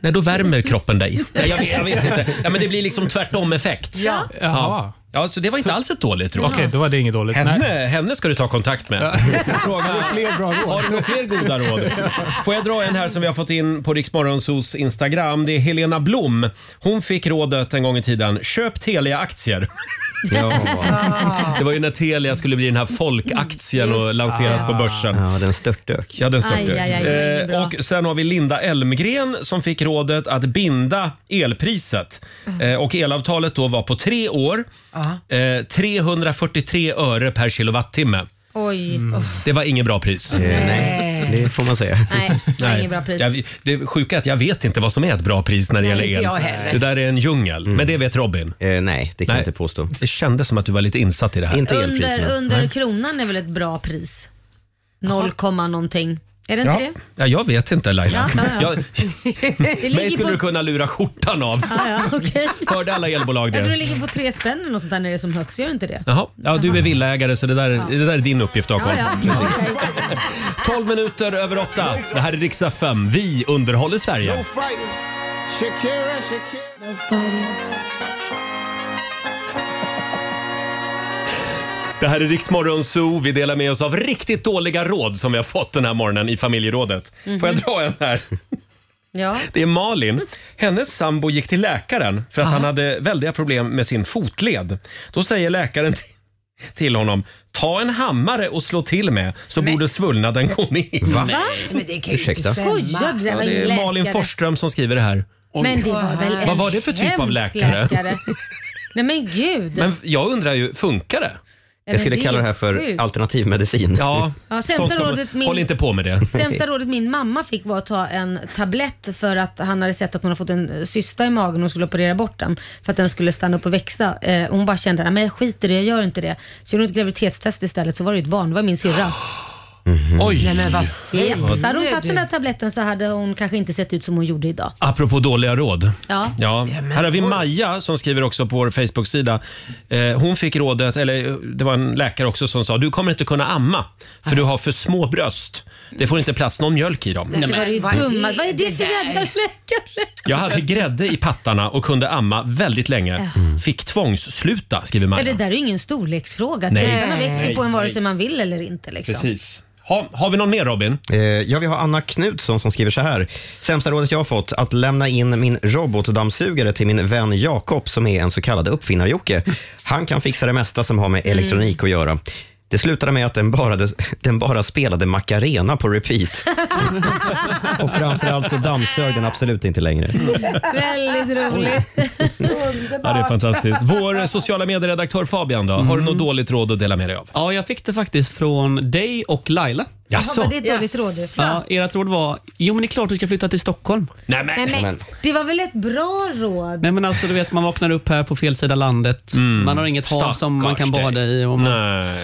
nej, då värmer kroppen dig. Nej, jag, vet, jag vet inte. Ja, men det blir liksom tvärtom-effekt. Ja. Ja. ja, så det var inte alls ett dåligt råd. Okej, då var det inget dåligt. Henne, henne ska du ta kontakt med. Fråga, Har du några fler goda råd? Får jag dra en här som vi har fått in på Riksmorgonsos Instagram. Det är Helena Blom. Hon fick rådet en gång i tiden. Köp Telia-aktier. Ja. Det var ju när Telia skulle bli den här folkaktien och lanseras på börsen. Ah. Ja, den störtdök. Ja, den störtdök. Aj, aj, aj, det är inget eh, bra. och sen har vi Linda Elmgren som fick rådet att binda elpriset. Mm. Eh, och elavtalet då var på tre år. Eh, 343 öre per kilowattimme. Oj. Oh. Det var inget bra pris. nej, Eh, det får man säga. Nej, det var inget bra pris. Jag, det är sjuka är att jag vet inte vad som är ett bra pris när det Nej, gäller inte el. jag heller. Det där är en djungel. Men det vet Robin? Mm. Eh, nej, det kan jag inte påstå. Det kändes som att du var lite insatt i det här. Under, under Nej. kronan är väl ett bra pris? 0, komma någonting. Är det inte Ja. det? Ja, jag vet inte Laila. Ja, ja, ja. Jag, det mig ligger skulle på... du kunna lura skjortan av. Ja, ja, okej. Hörde alla elbolag Jag tror det det? ligger på tre spänn eller något sånt där när det är som högst. Gör det inte det? Jaha, ja, du är villaägare så det där, det där är din uppgift Jakob. Ja, ja. 12 minuter över 8. Det här är riksdag 5. Vi underhåller Sverige. Shakira, Shakira. Det här är Riksmorgon Zoo. Vi delar med oss av riktigt dåliga råd som vi har fått den här morgonen i familjerådet. Får jag Mhm. dra en här? Ja. Det är Malin. Hennes sambo gick till läkaren för att han hade väldiga problem med sin fotled. Då säger läkaren till- till honom, ta en hammare och slå till med så borde svullnaden gå ner. Va? Va? Men det kan ju Ursäkta. inte stämma. Skojar du? Det Ja, var det ingen är Malin läkare. Forsström som skriver det här. Men det var väl en Vad var det för typ av hemsk läkare? Nej men gud. Men jag undrar ju, funkar det? men Jag skulle det är kalla det här för sjukt. alternativmedicin. Ja, Ja, sämsta sånt ska man- rådet min- håll inte på med det. Sämsta rådet min mamma fick var att ta en tablett för att han hade sett att hon hade fått en eh, cysta i magen och hon skulle operera bort den för att den skulle stanna upp och växa. Eh, hon bara kände, nej men jag skiter i det, jag gör inte det. Så gjorde hon ett graviditetstest istället så var det ju ett barn, det var min syrra. Oj! Nej, men vad Japp, Så hade hon Säger tagit du? den där tabletten så hade hon kanske inte sett ut som hon gjorde idag. Apropå dåliga råd. Ja. Ja. Här har vi Maja som skriver också på vår Facebook-sida. Eh, hon fick rådet, eller eh, det var en läkare också som sa, du kommer inte kunna amma för du har för små bröst. Det får inte plats någon mjölk i dem. Det var ju vad är dumma. Vad är det det för jävla läkare? Jag hade grädde i pattarna och kunde amma väldigt länge. Fick tvångssluta, skriver Ja, Maja. det där Äh. är ju ingen storleksfråga. Nej. Tiden växer ju på en Nej, vare nej. sig man vill eller inte. Liksom. Precis. Ha, har vi någon mer Robin? Eh, Ja, vi har Anna Knutsson som skriver så här. Sämsta rådet jag har fått, att lämna in min robotdammsugare till min vän Jakob som är en så kallad uppfinnarjocke. Han kan fixa det mesta som har med elektronik att göra. Det slutade med att den bara, den bara spelade Macarena på repeat. Och framförallt så dammsög den absolut inte längre. Väldigt roligt. Ja, det är fantastiskt. Vår sociala medieredaktör Fabian då? Har du något dåligt råd att dela med dig av? Mm. Ja, jag fick det faktiskt från dig och Laila. Jaså? var det ett dåligt råd? Ja, ert råd var, jo men det är klart du ska flytta till Stockholm. Nej Nej, men, det var väl ett bra råd? Nej men alltså du vet man vaknar upp här på fel sida landet. Man har inget hav som man kan Mm. Stackars bada dig. i. Och man...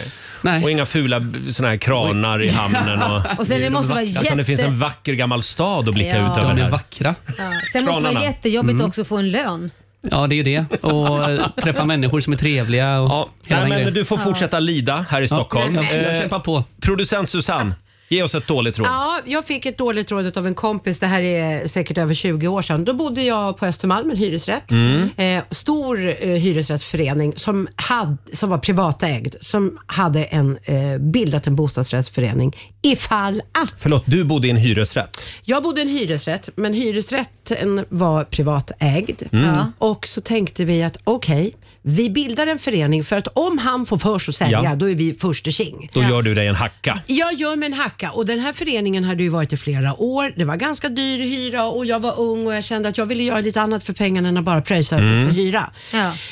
Nej. Och inga fula b- såna här kranar i hamnen. Och, Och sen det måste vara Jag tror Det jätte- finns en vacker gammal stad att blicka Ja. ut över. De är här. vackra. Ja. Sen måste det vara Kranarna. jättejobbigt Mm. också att få en lön. Ja det är ju det. Och eh, träffa människor som är trevliga och ja. hela Nej, den men grejen. du får fortsätta lida här i Stockholm. jag- jag Eh, kämpar på. Producent Susanne, ge oss ett dåligt råd. Ja, jag fick ett dåligt råd av en kompis, det här är säkert över 20 år sedan. Då bodde jag på Östermalm, en hyresrätt. Mm. Eh, stor eh, hyresrättsförening som, had, som var privatägd, som hade en, eh, bildat en bostadsrättsförening ifall att Förlåt, du bodde i en hyresrätt. jag bodde i en hyresrätt, men hyresrätten var privatägd. Mm. Ja. Och så tänkte vi att okej, vi bildar en förening för att om han får för sig att sälja, Ja. då är vi förste tjing. Då gör du dig en hacka. Jag gör mig en hacka och den här föreningen hade ju varit i flera år. Det var ganska dyr hyra och jag var ung och jag kände att jag ville göra lite annat för pengarna än att bara pröjsa Mm. för hyra.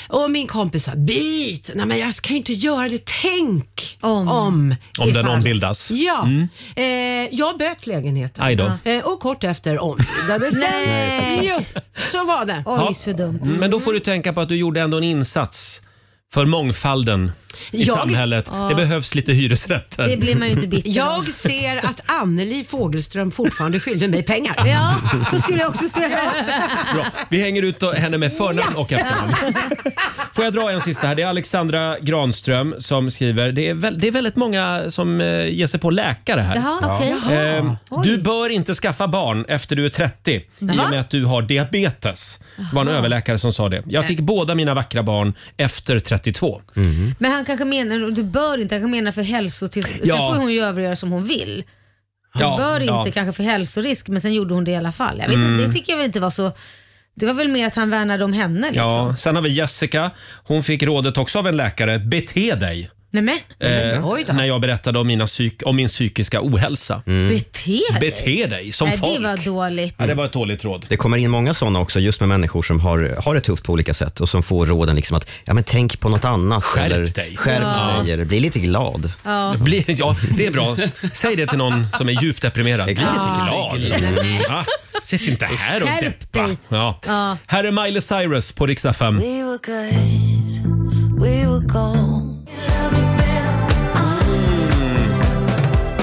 Och min kompis sa byt, nej men jag kan ju inte göra det. Tänk om. Om, Om den ifall." ombildas. Ja. Mm. Eh, jag böt lägenheten Aj då. Eh, och kort efter ombildades den. Nej. Jo, så var det. Mm. Ja. Mm. Men då får du tänka på att du gjorde ändå en insats för mångfalden i Jag- samhället. Ja. Det behövs lite hyresrätter. Jag ser att Anneli Fogelström fortfarande skyllde mig pengar. Ja, så skulle jag också säga. Bra. Vi hänger ut då- henne med förnamn och efternamn. Får jag dra en sista här? Det är Alexandra Granström som skriver. Det är, väl, det är väldigt många som eh, ger sig på läkare här. Jaha, Ja. okej. Jaha. Ehm, Oj. du bör inte skaffa barn efter du är 30 i Va? och med att du har diabetes. Det var en Jaha. överläkare som sa det. Jag fick båda mina vackra barn efter 32. Mm. Men han kanske menar, och du bör inte, han kanske menar för hälsotillstånd. Sen Ja. får hon ju övergöra som hon vill. Hon Ja, bör ja. inte kanske för hälsorisk, men sen gjorde hon det i alla fall. Jag vet Mm. inte, det tycker jag väl inte var så... Det var väl mer att han värnade om henne liksom. Ja, sen har vi Jessica. Hon fick rådet också av en läkare. Bete dig. Nej men, Eh, när jag berättade om, mina psyk- om min psykiska ohälsa. Mm. bete dig. Bete dig Mm. som Nej, folk. det var dåligt. Ja, det var ett dåligt råd. Det kommer in många sådana också, just med människor som har, har det tufft på olika sätt och som får råden liksom att ja, men tänk på något annat. Skärp eller, dig. Skärp Ja. dig eller bli lite glad. Ja. Bli, ja, det är bra. Säg det till någon som är djupt deprimerad. Bli Ja. lite glad. Mm. Ja, sitt inte här och Skärp deppa. Mm. dig. Ja. Ja. Här är Miley Cyrus på riksdag 5. We were good, we were gold.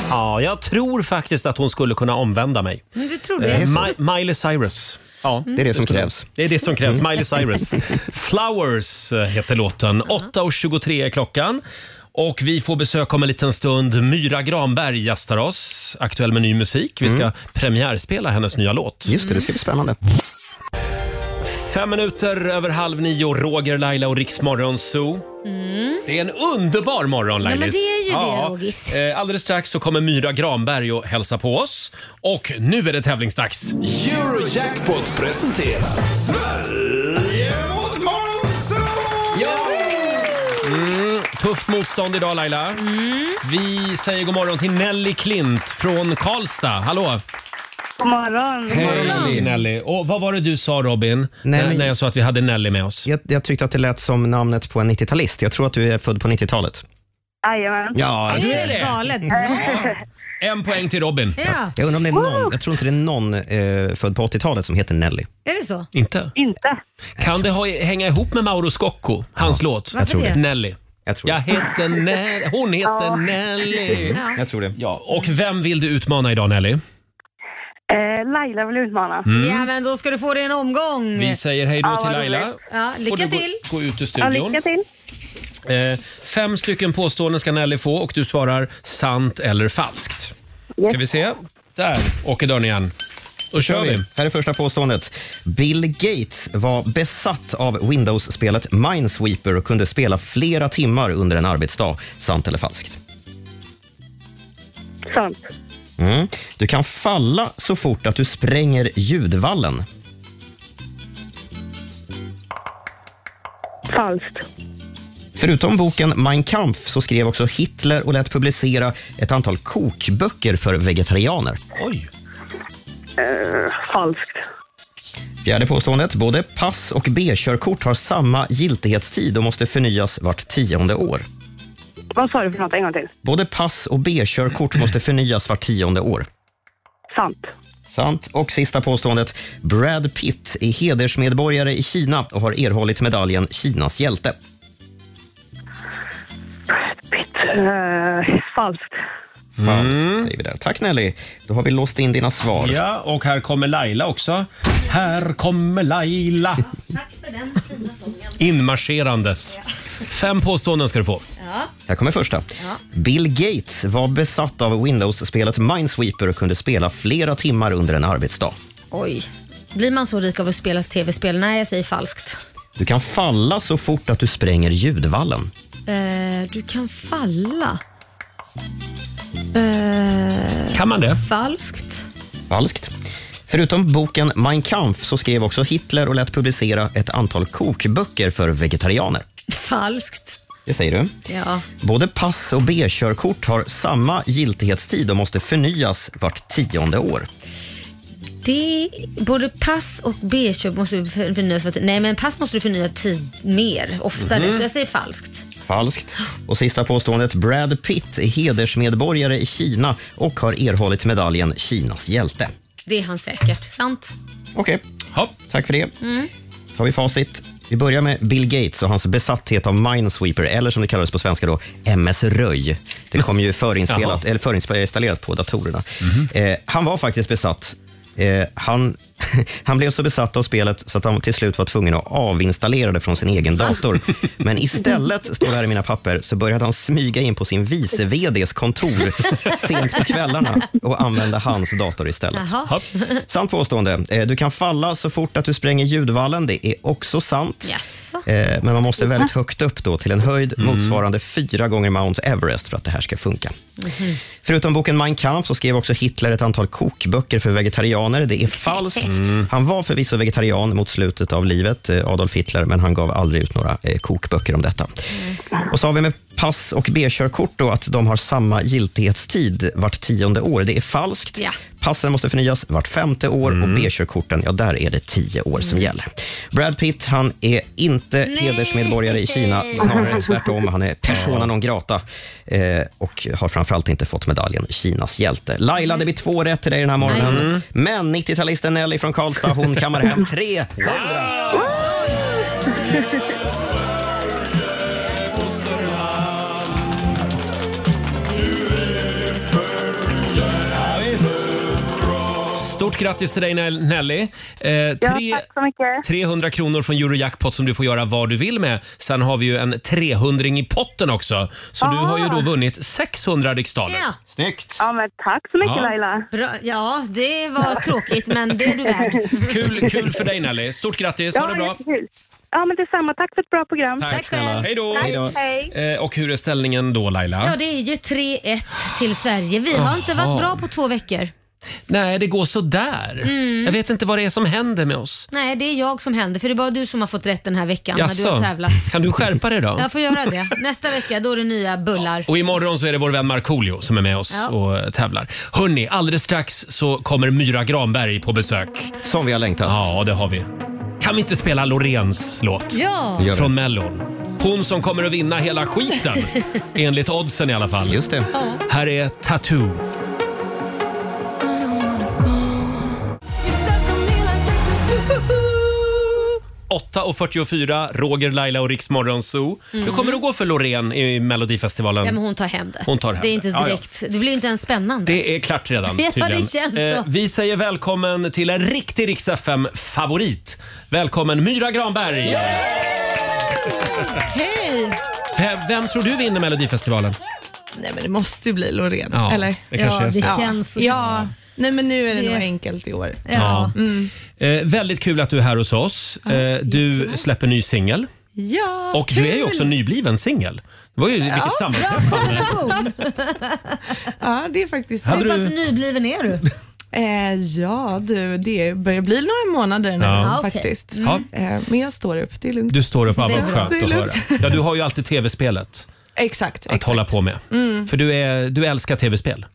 Ja, jag tror faktiskt att hon skulle kunna omvända mig. Mm, Men du tror Eh, det? Mi- Miley Cyrus. Ja, Mm. Det är det som skulle- krävs. Det är det som krävs. Mm. Miley Cyrus. Flowers eh, heter låten. 8.23 är klockan. Och vi får besök om en liten stund. Myra Granberg gästar oss. Aktuell med ny musik. Vi ska premiärspela hennes nya låt. Mm. Just det, det ska bli spännande. Fem minuter över halv nio. Roger, Laila och Riksmorgon Zoo. Mm. Mm. Det är en underbar morgon Lailis. Ja, men det är ju det, Rogis. Eh, Alldeles strax så kommer Myra Granberg och hälsa på oss. Och nu är det tävlingsdags. Eurojackpot presenterar Sverige mot Monzo! Mm, tufft motstånd idag Laila. Vi säger god morgon till Nelly Klint från Karlstad. Hallå! God morgon. Hej Nelly. Och vad var det du sa Robin? När, men- när jag sa att vi hade Nelly med oss. Jag, jag tyckte att det lät som namnet på en 90-talist. Jag tror att du är född på 90-talet. Jajamän. Ja, det det är är helt det. galet. En poäng till Robin. Ja. Jag undrar om det är någon, jag tror inte det är någon eh, född på 80-talet som heter Nelly. Är det så? Inte? Inte. Kan det ha, hänga ihop med Mauro Scocco? Hans låt? jag tror Varför det. det? Nelly. Jag, tror heter Nelly. Hon heter Ja. Nelly. Ja. Jag tror det. Ja, och vem vill du utmana idag Nelly? Eh, Laila vill utmana. Mm. Ja, men då ska du få det i en omgång. Vi säger hej då Ja, till vad Laila. roligt. Ja, lycka Får du gå- till. Gå ut ur studion. till. Eh, fem stycken påståenden ska Nelly få och du svarar sant eller falskt. Ska vi se? Där åker dörren igen. Då kör vi. Här är första påståendet. Bill Gates var besatt av Windows-spelet Minesweeper och kunde spela flera timmar under en arbetsdag. Sant eller falskt? Sant. Mm. Du kan falla så fort att du spränger ljudvallen. Falskt. Förutom boken Mein Kampf så skrev också Hitler och lät publicera ett antal kokböcker för vegetarianer. Oj. Eh, falskt. Fjärde påståendet. Både pass och B-körkort har samma giltighetstid och måste förnyas vart tionde år. Vad sa du för något en gång till? Både pass och B-körkort måste förnyas vart tionde år. Sant. Sant. Och sista påståendet. Brad Pitt är hedersmedborgare i Kina och har erhållit medaljen Kinas hjälte. Eh, falskt. Falskt, säger vi där. Tack Nelly. Då har vi låst in dina svar. Ja, och här kommer Laila också. Här kommer Laila. Tack för den fina sången. Inmarscherandes. Fem påståenden ska du få. Ja. Här kommer första. Ja. Bill Gates var besatt av Windows-spelet Minesweeper och kunde spela flera timmar under en arbetsdag. Oj. Blir man så rik av att spela tv-spel? Nej, jag säger falskt. Du kan falla så fort att du spränger ljudvallen. Eh, du kan falla. Eh, Kan man det? Falskt. Falskt. Förutom boken Mein Kampf så skrev också Hitler och lät publicera ett antal kokböcker för vegetarianer. Falskt. Det säger du. Ja. Både pass och B-körkort har samma giltighetstid och måste förnyas vart tionde år. Det både pass och B-köp måste ju för- förnyas. för att- Nej, men pass måste du förnya tid mer, oftare. Mhm. Så jag säger falskt. Falskt. Och sista påståendet. Brad Pitt är hedersmedborgare i Kina och har erhållit medaljen Kinas hjälte. Det är han säkert. Sant. Okej. Tack för det. Mm. Då har vi facit. Vi börjar med Bill Gates och hans besatthet av Minesweeper, eller som det kallades på svenska då, MS Röj. Det kom ju förinspelat, eller förinstallerat på datorerna. Eh, han var faktiskt besatt. Eh, han, han blev så besatt av spelet så att han till slut var tvungen att avinstallera det från sin egen dator. Men istället, står det här i mina papper, så började han smyga in på sin vice VDs kontor sent på kvällarna och använda hans dator istället. Jaha. Sant påstående. Eh, Du kan falla så fort att du spränger ljudvallen. Det är också sant. Jaså? Eh, Men man måste väldigt högt upp då, till en höjd motsvarande fyra gånger Mount Everest för att det här ska funka. Mhm. Förutom boken Mein Kampf så skrev också Hitler ett antal kokböcker för vegetarianer. Det är falskt. Han var förvisso vegetarian mot slutet av livet, eh, Adolf Hitler, men han gav aldrig ut några eh, kokböcker om detta. Och så har vi med pass och B-körkort då, att de har samma giltighetstid vart tionde år. Det är falskt. Ja. Passen måste förnyas vart femte år och B-körkorten, ja där är det tio år som gäller. Brad Pitt, han är inte hedersmedborgare i Kina, snarare tvärtom. Han är persona non grata eh, och har framförallt inte fått medaljen Kinas hjälte. Laila, det blir två rätt till dig den här morgonen. Mm. Men 90-talisten Nelly från Karlstad, hon kammar hem tre. Stort grattis till dig Nell- Nelly. Eh, tre, så mycket. 300 kronor från Eurojackpot som du får göra vad du vill med. Sen har vi ju en 300 i potten också. Så du har ju då vunnit 600 riksdaler. Ja. Snyggt. Ja, men tack så mycket Ja. Laila. Bra. Ja, det var tråkigt, men det är du värd. Kul, kul för dig Nelly. Stort grattis, ha det bra. jättekul. Ja, men detsamma. Tack för ett bra program. Hej då. Tack, hej. Eh, och hur är ställningen då Laila? Ja, det är ju 3-1 till Sverige. Vi har inte Jaha. varit bra på två veckor. Nej, det går så där. Mm. Jag vet inte vad det är som händer med oss. Nej, det är jag som händer, för det är bara du som har fått rätt den här veckan när du har tävlat. Kan du skärpa dig då? Jag får göra det. Nästa vecka, då är det nya bullar. Och imorgon så är det vår vän Markoolio som är med oss Ja. och tävlar. Hörni, alldeles strax så kommer Myra Granberg på besök. Som vi har längtat. Ja, det har vi. Kan vi inte spela Loreens låt? Ja. Det gör vi. Från Mellon. Hon som kommer att vinna hela skiten. Enligt oddsen i alla fall. Just det. Här är Tattoo. och 44, Roger, Laila och Riks Morgonzoo. Mm. Hur kommer det att gå för Loreen i Melodifestivalen? Ja, men hon tar hem det. Hon tar hem det. är inte det. Ja, ja. direkt. Det blir inte ens spännande. Det är klart redan Ja, det tydligen. Eh, känns så. vi säger välkommen till en riktig Rix FM-favorit. Välkommen Myra Granberg! Hej! Vem, vem tror du vinner Melodifestivalen? Nej men det måste ju bli Loreen, Ja, eller? det kanske ja, är så. Ja. känns så. Ja, nej men nu är det, Det- nog enkelt i år. Ja. Mm. Eh, väldigt kul att du är här hos oss. Eh, du släpper ny singel ja och du är ju kul. också nybliven singel. Det var ju vilket sammanträffande. ja, det är faktiskt Hade du- Hur pass nybliven är du? Eh, ja, du, det börjar bli några månader nu Ja. Ah, okej. faktiskt. Ja. Eh, men jag står upp, det är lugnt. Du står upp, ja, Det vad är skönt lugnt. att Det är höra. lugnt. Ja, du har ju alltid tv-spelet Exakt. att hålla på med. Mm. För du, är, du älskar tv-spel.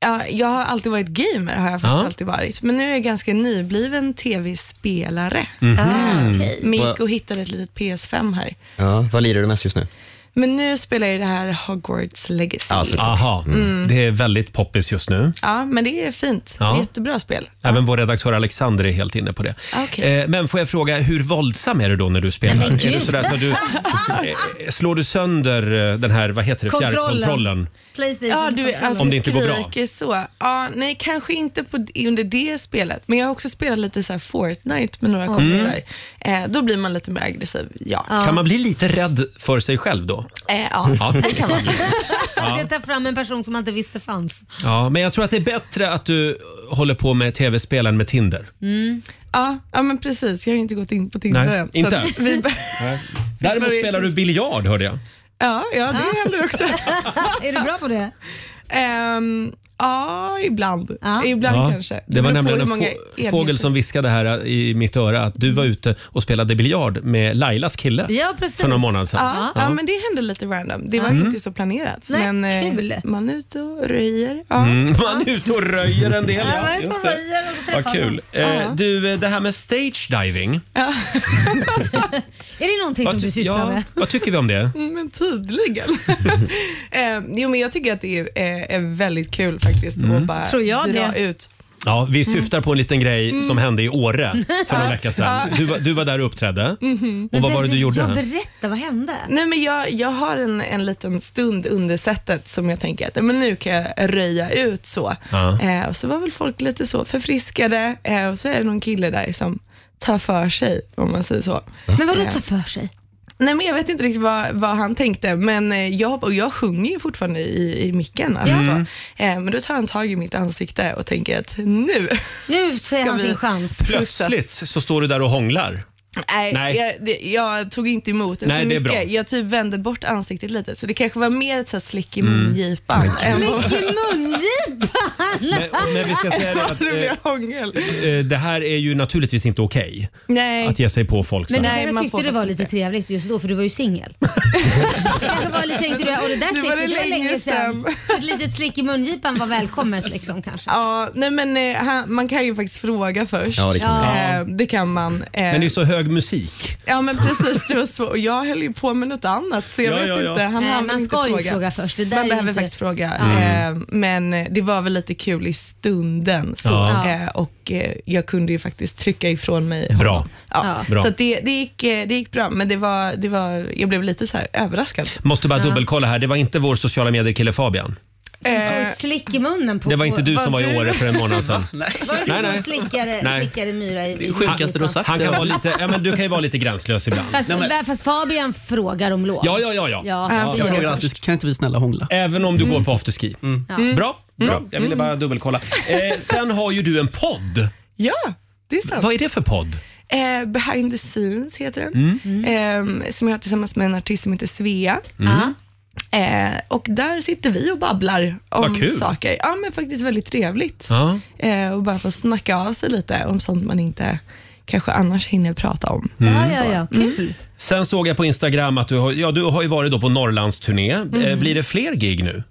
Ja, jag har alltid varit gamer, har jag faktiskt Ja. alltid varit. Men nu är jag ganska nybliven tv-spelare. Mhm. Ah, okej. Men gick och hittade ett litet PS5 här. Ja, vad lirar du mest just nu? Men nu spelar jag det här Hogwarts Legacy. Aha, Mm. det är väldigt poppis just nu. Ja, men det är fint. Ja. Jättebra spel. Även vår redaktör Alexander är helt inne på det. Okej. Eh, Men får jag fråga, hur våldsam är du då när du spelar? Nej, men är gud. du sådär så att du, eh, slår du sönder eh, den här, vad heter det, fjärrkontrollen? Playstation ja, du, att Om du det inte går bra. skriker Så. Ja, nej, kanske inte på, under det spelet, men jag har också spelat lite så här Fortnite med några Mm. kompisar. Eh, då blir man lite mer aggressiv, ja. Kan man bli lite rädd för sig själv då? Eh, ja. det kan man. Ja. Ja. Det tar fram en person som man inte visste fanns. ja, men jag tror att det är bättre att du håller på med tv-spel än med Tinder. Ja, ja, men precis. Jag har ju inte gått in på Tinder Nej, än. så inte att än. vi, Däremot spelar du biljard hörde jag. Ja, ja det händer också. är du bra på det? ja, ibland. Ibland Ja, kanske. Det var beror på nämligen hur en många få- enheter. fågel som viskade här i mitt öra att du var ute och spelade biljard med Lailas kille för några månader sedan. Ja, ja. men det hände lite random. Det var Mm. inte så planerat. Nej, men eh, kul. man är ute och röjer. Ja. Mm, man är ute och röjer en del. Ja, man Ja, är ute just och det. röjer och så träffar Vad kul. man. Eh, Ja. Du, eh, det här med stage diving. Är det någonting Vad, ty- ja, vad tycker vi om det? Mm, Men tydligen. eh, jo, men jag tycker att det är, eh, är, är väldigt kul faktiskt Mm. att bara Tror jag dra det. ut. Ja, vi syftar på en liten grej Mm. som hände i Åre för någon Ja. vecka sedan. Ja. Du, var- du var där och uppträdde. Mhm. Och vad var det du gjorde? berätta, vad hände? Nej, men jag, jag har en, en liten stund under setet som jag tänker att men nu kan jag röja ut så. Ja. Eh, och så var väl folk lite så förfriskade eh, och så är det någon kille där som tar för sig, om man säger så. Men vadå Eh, ta för sig? Nej, men jag vet inte riktigt vad, vad han tänkte, men eh, jag, och jag sjunger ju fortfarande i, i micken. Alltså, Ja. så. Mm. Eh, men då tar han tag i mitt ansikte och tänker att nu Nu ser han sin chans. Plötsligt så står du där och hånglar. Nej, Nej. Jag, det, jag tog inte emot det Nej, så det är mycket. bra. Jag typ vände bort ansiktet lite, så det kanske var mer ett så här slick i Mm. mungipan. än vad- Slick i mungipan! Men, men Eh, vi ska säga det att Det blir eh, hångel. eh, det här är ju naturligtvis inte okej. Nej. Att ge sig på folk så Men här. jag tyckte det var lite trevligt just då för du var ju singel. Det kanske var lite, tänkte du, och det där Nu var slicket, det det var länge länge sedan. sedan. Så ett litet slick i mungipan var välkommet liksom kanske. Ja, nej men eh, han, man kan ju faktiskt fråga först. Ja, det kan man. Ja. Eh, det kan man. Eh, Men det är så hög musik. Ja men precis, det var så. Och jag höll ju på med något annat så jag Ja, vet ja, ja. inte. Han Nej, hann man inte ska ju fråga först. Det där är man ju behöver inte- faktiskt fråga. Ja. Eh, men eh, det var väl lite kul i stunden. Så, Ja. eh, och eh, jag kunde ju faktiskt trycka ifrån mig Bra. Ja. Bra. Så att det, det, gick, eh, det gick bra, men det var, det var, jag blev lite så här överraskad. Måste bara dubbelkolla här. Det var inte vår sociala medier-kille Fabian. Eh, Ett slick i munnen på... Det var inte du som var i Åre för en månad sedan. Var det du Nej, som nej. slickade, Nej. slickade Myra i i mungipan? Han kan vara lite, ja, men du kan ju vara lite gränslös ibland. Fast, fast Fabian frågar om lov. Ja, ja, ja. ja. han Ja. frågar kan inte vi snälla hångla? Mm. Även om du går på afterski. Ja. Bra, bra. Jag ville bara dubbelkolla. Eh, sen har ju du en podd. Ja, det är sant. Vad är det för podd? Eh, Behind the scenes heter den, Mm. Eh, som jag har tillsammans med en artist som heter Svea. Mm. Eh, och där sitter vi och babblar Vad om kul. saker. Ja, men faktiskt väldigt trevligt. Ja. Eh, och bara få snacka av sig lite om sånt man inte kanske annars hinner prata om. Mm. Så. Ja, ja, ja. Mm. Kul. Sen såg jag på Instagram att du har, ja, du har ju varit då på Norrlandsturné. Mm. Eh, Blir det fler gig nu?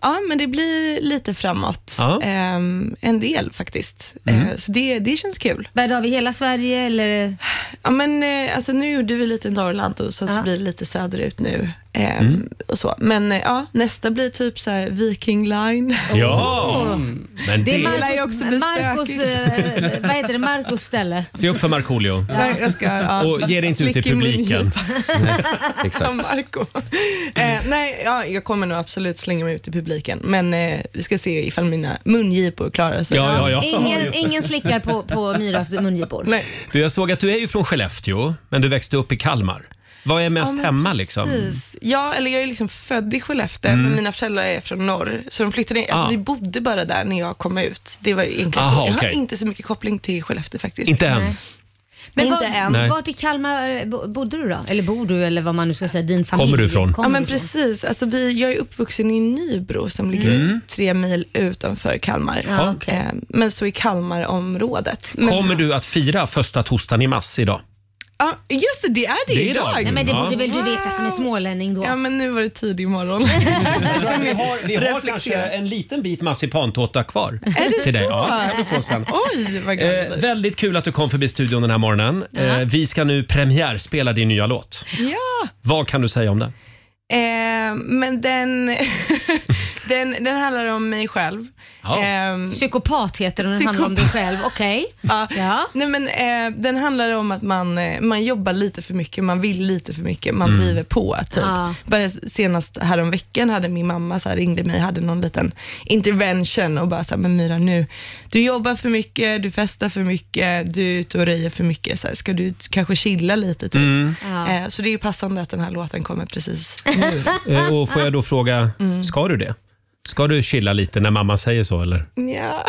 Ja, men det blir lite framåt. Ja. Ehm, en del faktiskt. Mm. Eh, så det, det känns kul. Värd av i hela Sverige eller? Ja, men eh, alltså, nu gjorde vi lite Norrland och sen så blir det lite söderut nu. Ehm, Mm. och så. Men eh, ja, nästa blir typ så här Viking Line. Ja! Åh. Men det... lär ju också bli Marcos, stökigt. eh, vad heter det, Marcos ställe. Se upp för Markoolio. Ja. Jag ska, ja, Och ge dig inte ut i slick i munnen. publiken. Ja, Marco. Eh, nej, ja, jag kommer nog absolut slänga mig ut i publiken, men eh, vi ska se ifall mina mungipor klarar sig. Ja, ja, ja. Ingen, ingen slickar på, på Myras mungipor. Du, jag såg att du är ju från Skellefteå, men du växte upp i Kalmar. Vad är mest Ja, men hemma liksom? Precis. Ja, eller jag är liksom född i Skellefteå, Mm. men mina föräldrar är från norr, så de flyttade in. Alltså, Ah. Vi bodde bara där när jag kom ut. Det var egentligen Aha, Jag okej. har inte så mycket koppling till Skellefteå faktiskt. Inte än? Men Inte var, än. Nej. vart i Kalmar eh, bo- bodde du då? Eller bor du eller vad man nu ska säga, din familj? Kommer du ifrån? Kommer ja, men du ifrån? precis. Alltså, vi, jag är uppvuxen i Nybro som ligger Mm. tre mil utanför Kalmar. Ja, okej. Eh, Men så i Kalmarområdet. Men, Kommer du att fira första torsdagen i mass idag? Ja, just det, det är det, Det är idag. idag. Nej, men det Ja. borde väl du veta som är smålänning då. Ja, men nu var det tidig morgon. Vi har, vi har Reflektera. kanske en liten bit massipantårta kvar. Är det till dig. så? Ja, det kan du få sen. Oj, vad glad jag Eh, blir. väldigt kul att du kom förbi studion den här morgonen. Eh, vi ska nu premiärspela din nya låt. Ja, Vad kan du säga om den? eh, men den, den, den handlar om mig själv. Ehm, Ja. Psykopat heter den, den handlar om dig själv. Okej. Ja. Nej, men, eh, den handlar om att man, eh, man jobbar lite för mycket, man vill lite för mycket, man Mm. driver på. Typ. Ja. Bara senast häromveckan hade min mamma så här, ringde mig, hade någon liten intervention och bara så här, men Myra nu, du jobbar för mycket, du festar för mycket, du är ute och röjer för mycket, så här, ska du t- kanske chilla lite? Typ. Mm. Ja. Eh, så det är ju passande att den här låten kommer precis nu. Eh, och får jag då fråga, Mm. ska du det? Ska du chilla lite när mamma säger så eller? ja.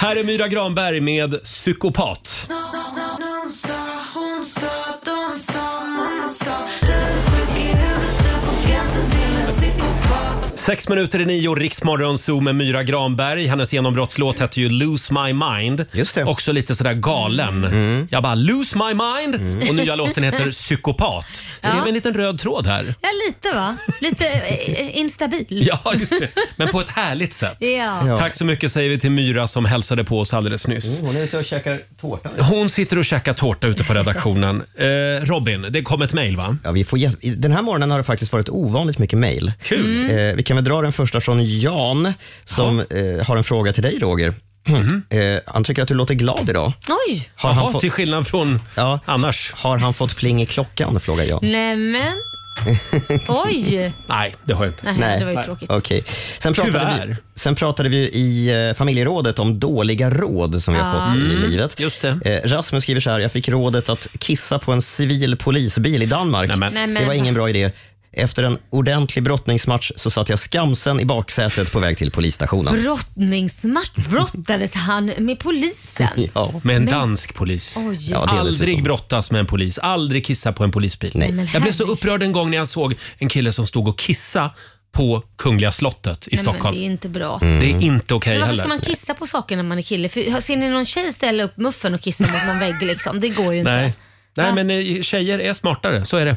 Här är Myra Granberg med Psykopat. Nån sa, hon sa, de sa, man sa Du är sjuk i huvudet på gränsen till en psykopat Sex minuter i nio, Riksmorgon Zoo med Myra Granberg. Hennes genombrottslåt hette ju “Lose My Mind”. Just det. Också lite sådär galen. Jag bara “Lose My Mind” och nya låten heter “Psykopat”. Så det är Ja. väl en liten röd tråd här. Ja, lite va? Lite eh, instabil. Ja, just det. Men på ett härligt sätt. Ja. Ja. Tack så mycket säger vi till Myra som hälsade på oss alldeles nyss. Hon är ute och käkar tårta nu. Hon sitter och käkar tårta ute på redaktionen. Eh, Robin, det kom ett mejl va? Ja, vi får hjäl- i- den här morgonen har det faktiskt varit ovanligt mycket mejl. Kul. Eh, vi kan väl dra den första från Jan som eh, har en fråga till dig Roger. Eh, han tycker att du låter glad idag. Oj! Mhm. Jaha, till skillnad från annars. Har han fått pling i klockan? Frågar jag. Nämen. Oj! Nej, det har jag inte. Nej, det var ju tråkigt. Okej. Sen, pratade Tyvärr. vi, sen pratade vi ju i eh, familjerådet om dåliga råd som vi har Ja. fått i Mm, livet. Just Rasmus skriver så här, jag fick rådet att kissa på en civil polisbil i Danmark. Nämen. Det var ingen bra idé. Efter en ordentlig brottningsmatch så satt jag skamsen i baksätet på väg till polisstationen. Brottningsmatch brottades han med polisen. Ja. Med en dansk polis. Oj. Ja, det är aldrig dessutom. brottas med en polis, aldrig kissa på en polisbil. Nej. Men Jag blev så upprörd en gång när jag såg en kille som stod och kissa på Kungliga slottet i Nej, men Stockholm. Mm. Det är inte bra. Det är inte okej Men varför heller. ska man kissa på saker när man är kille? För, ser ni någon tjej ställa upp muffen och kissa mot någon vägg? Liksom? Det går ju inte. Nej. Nej, men eh, tjejer är smartare. Så är det.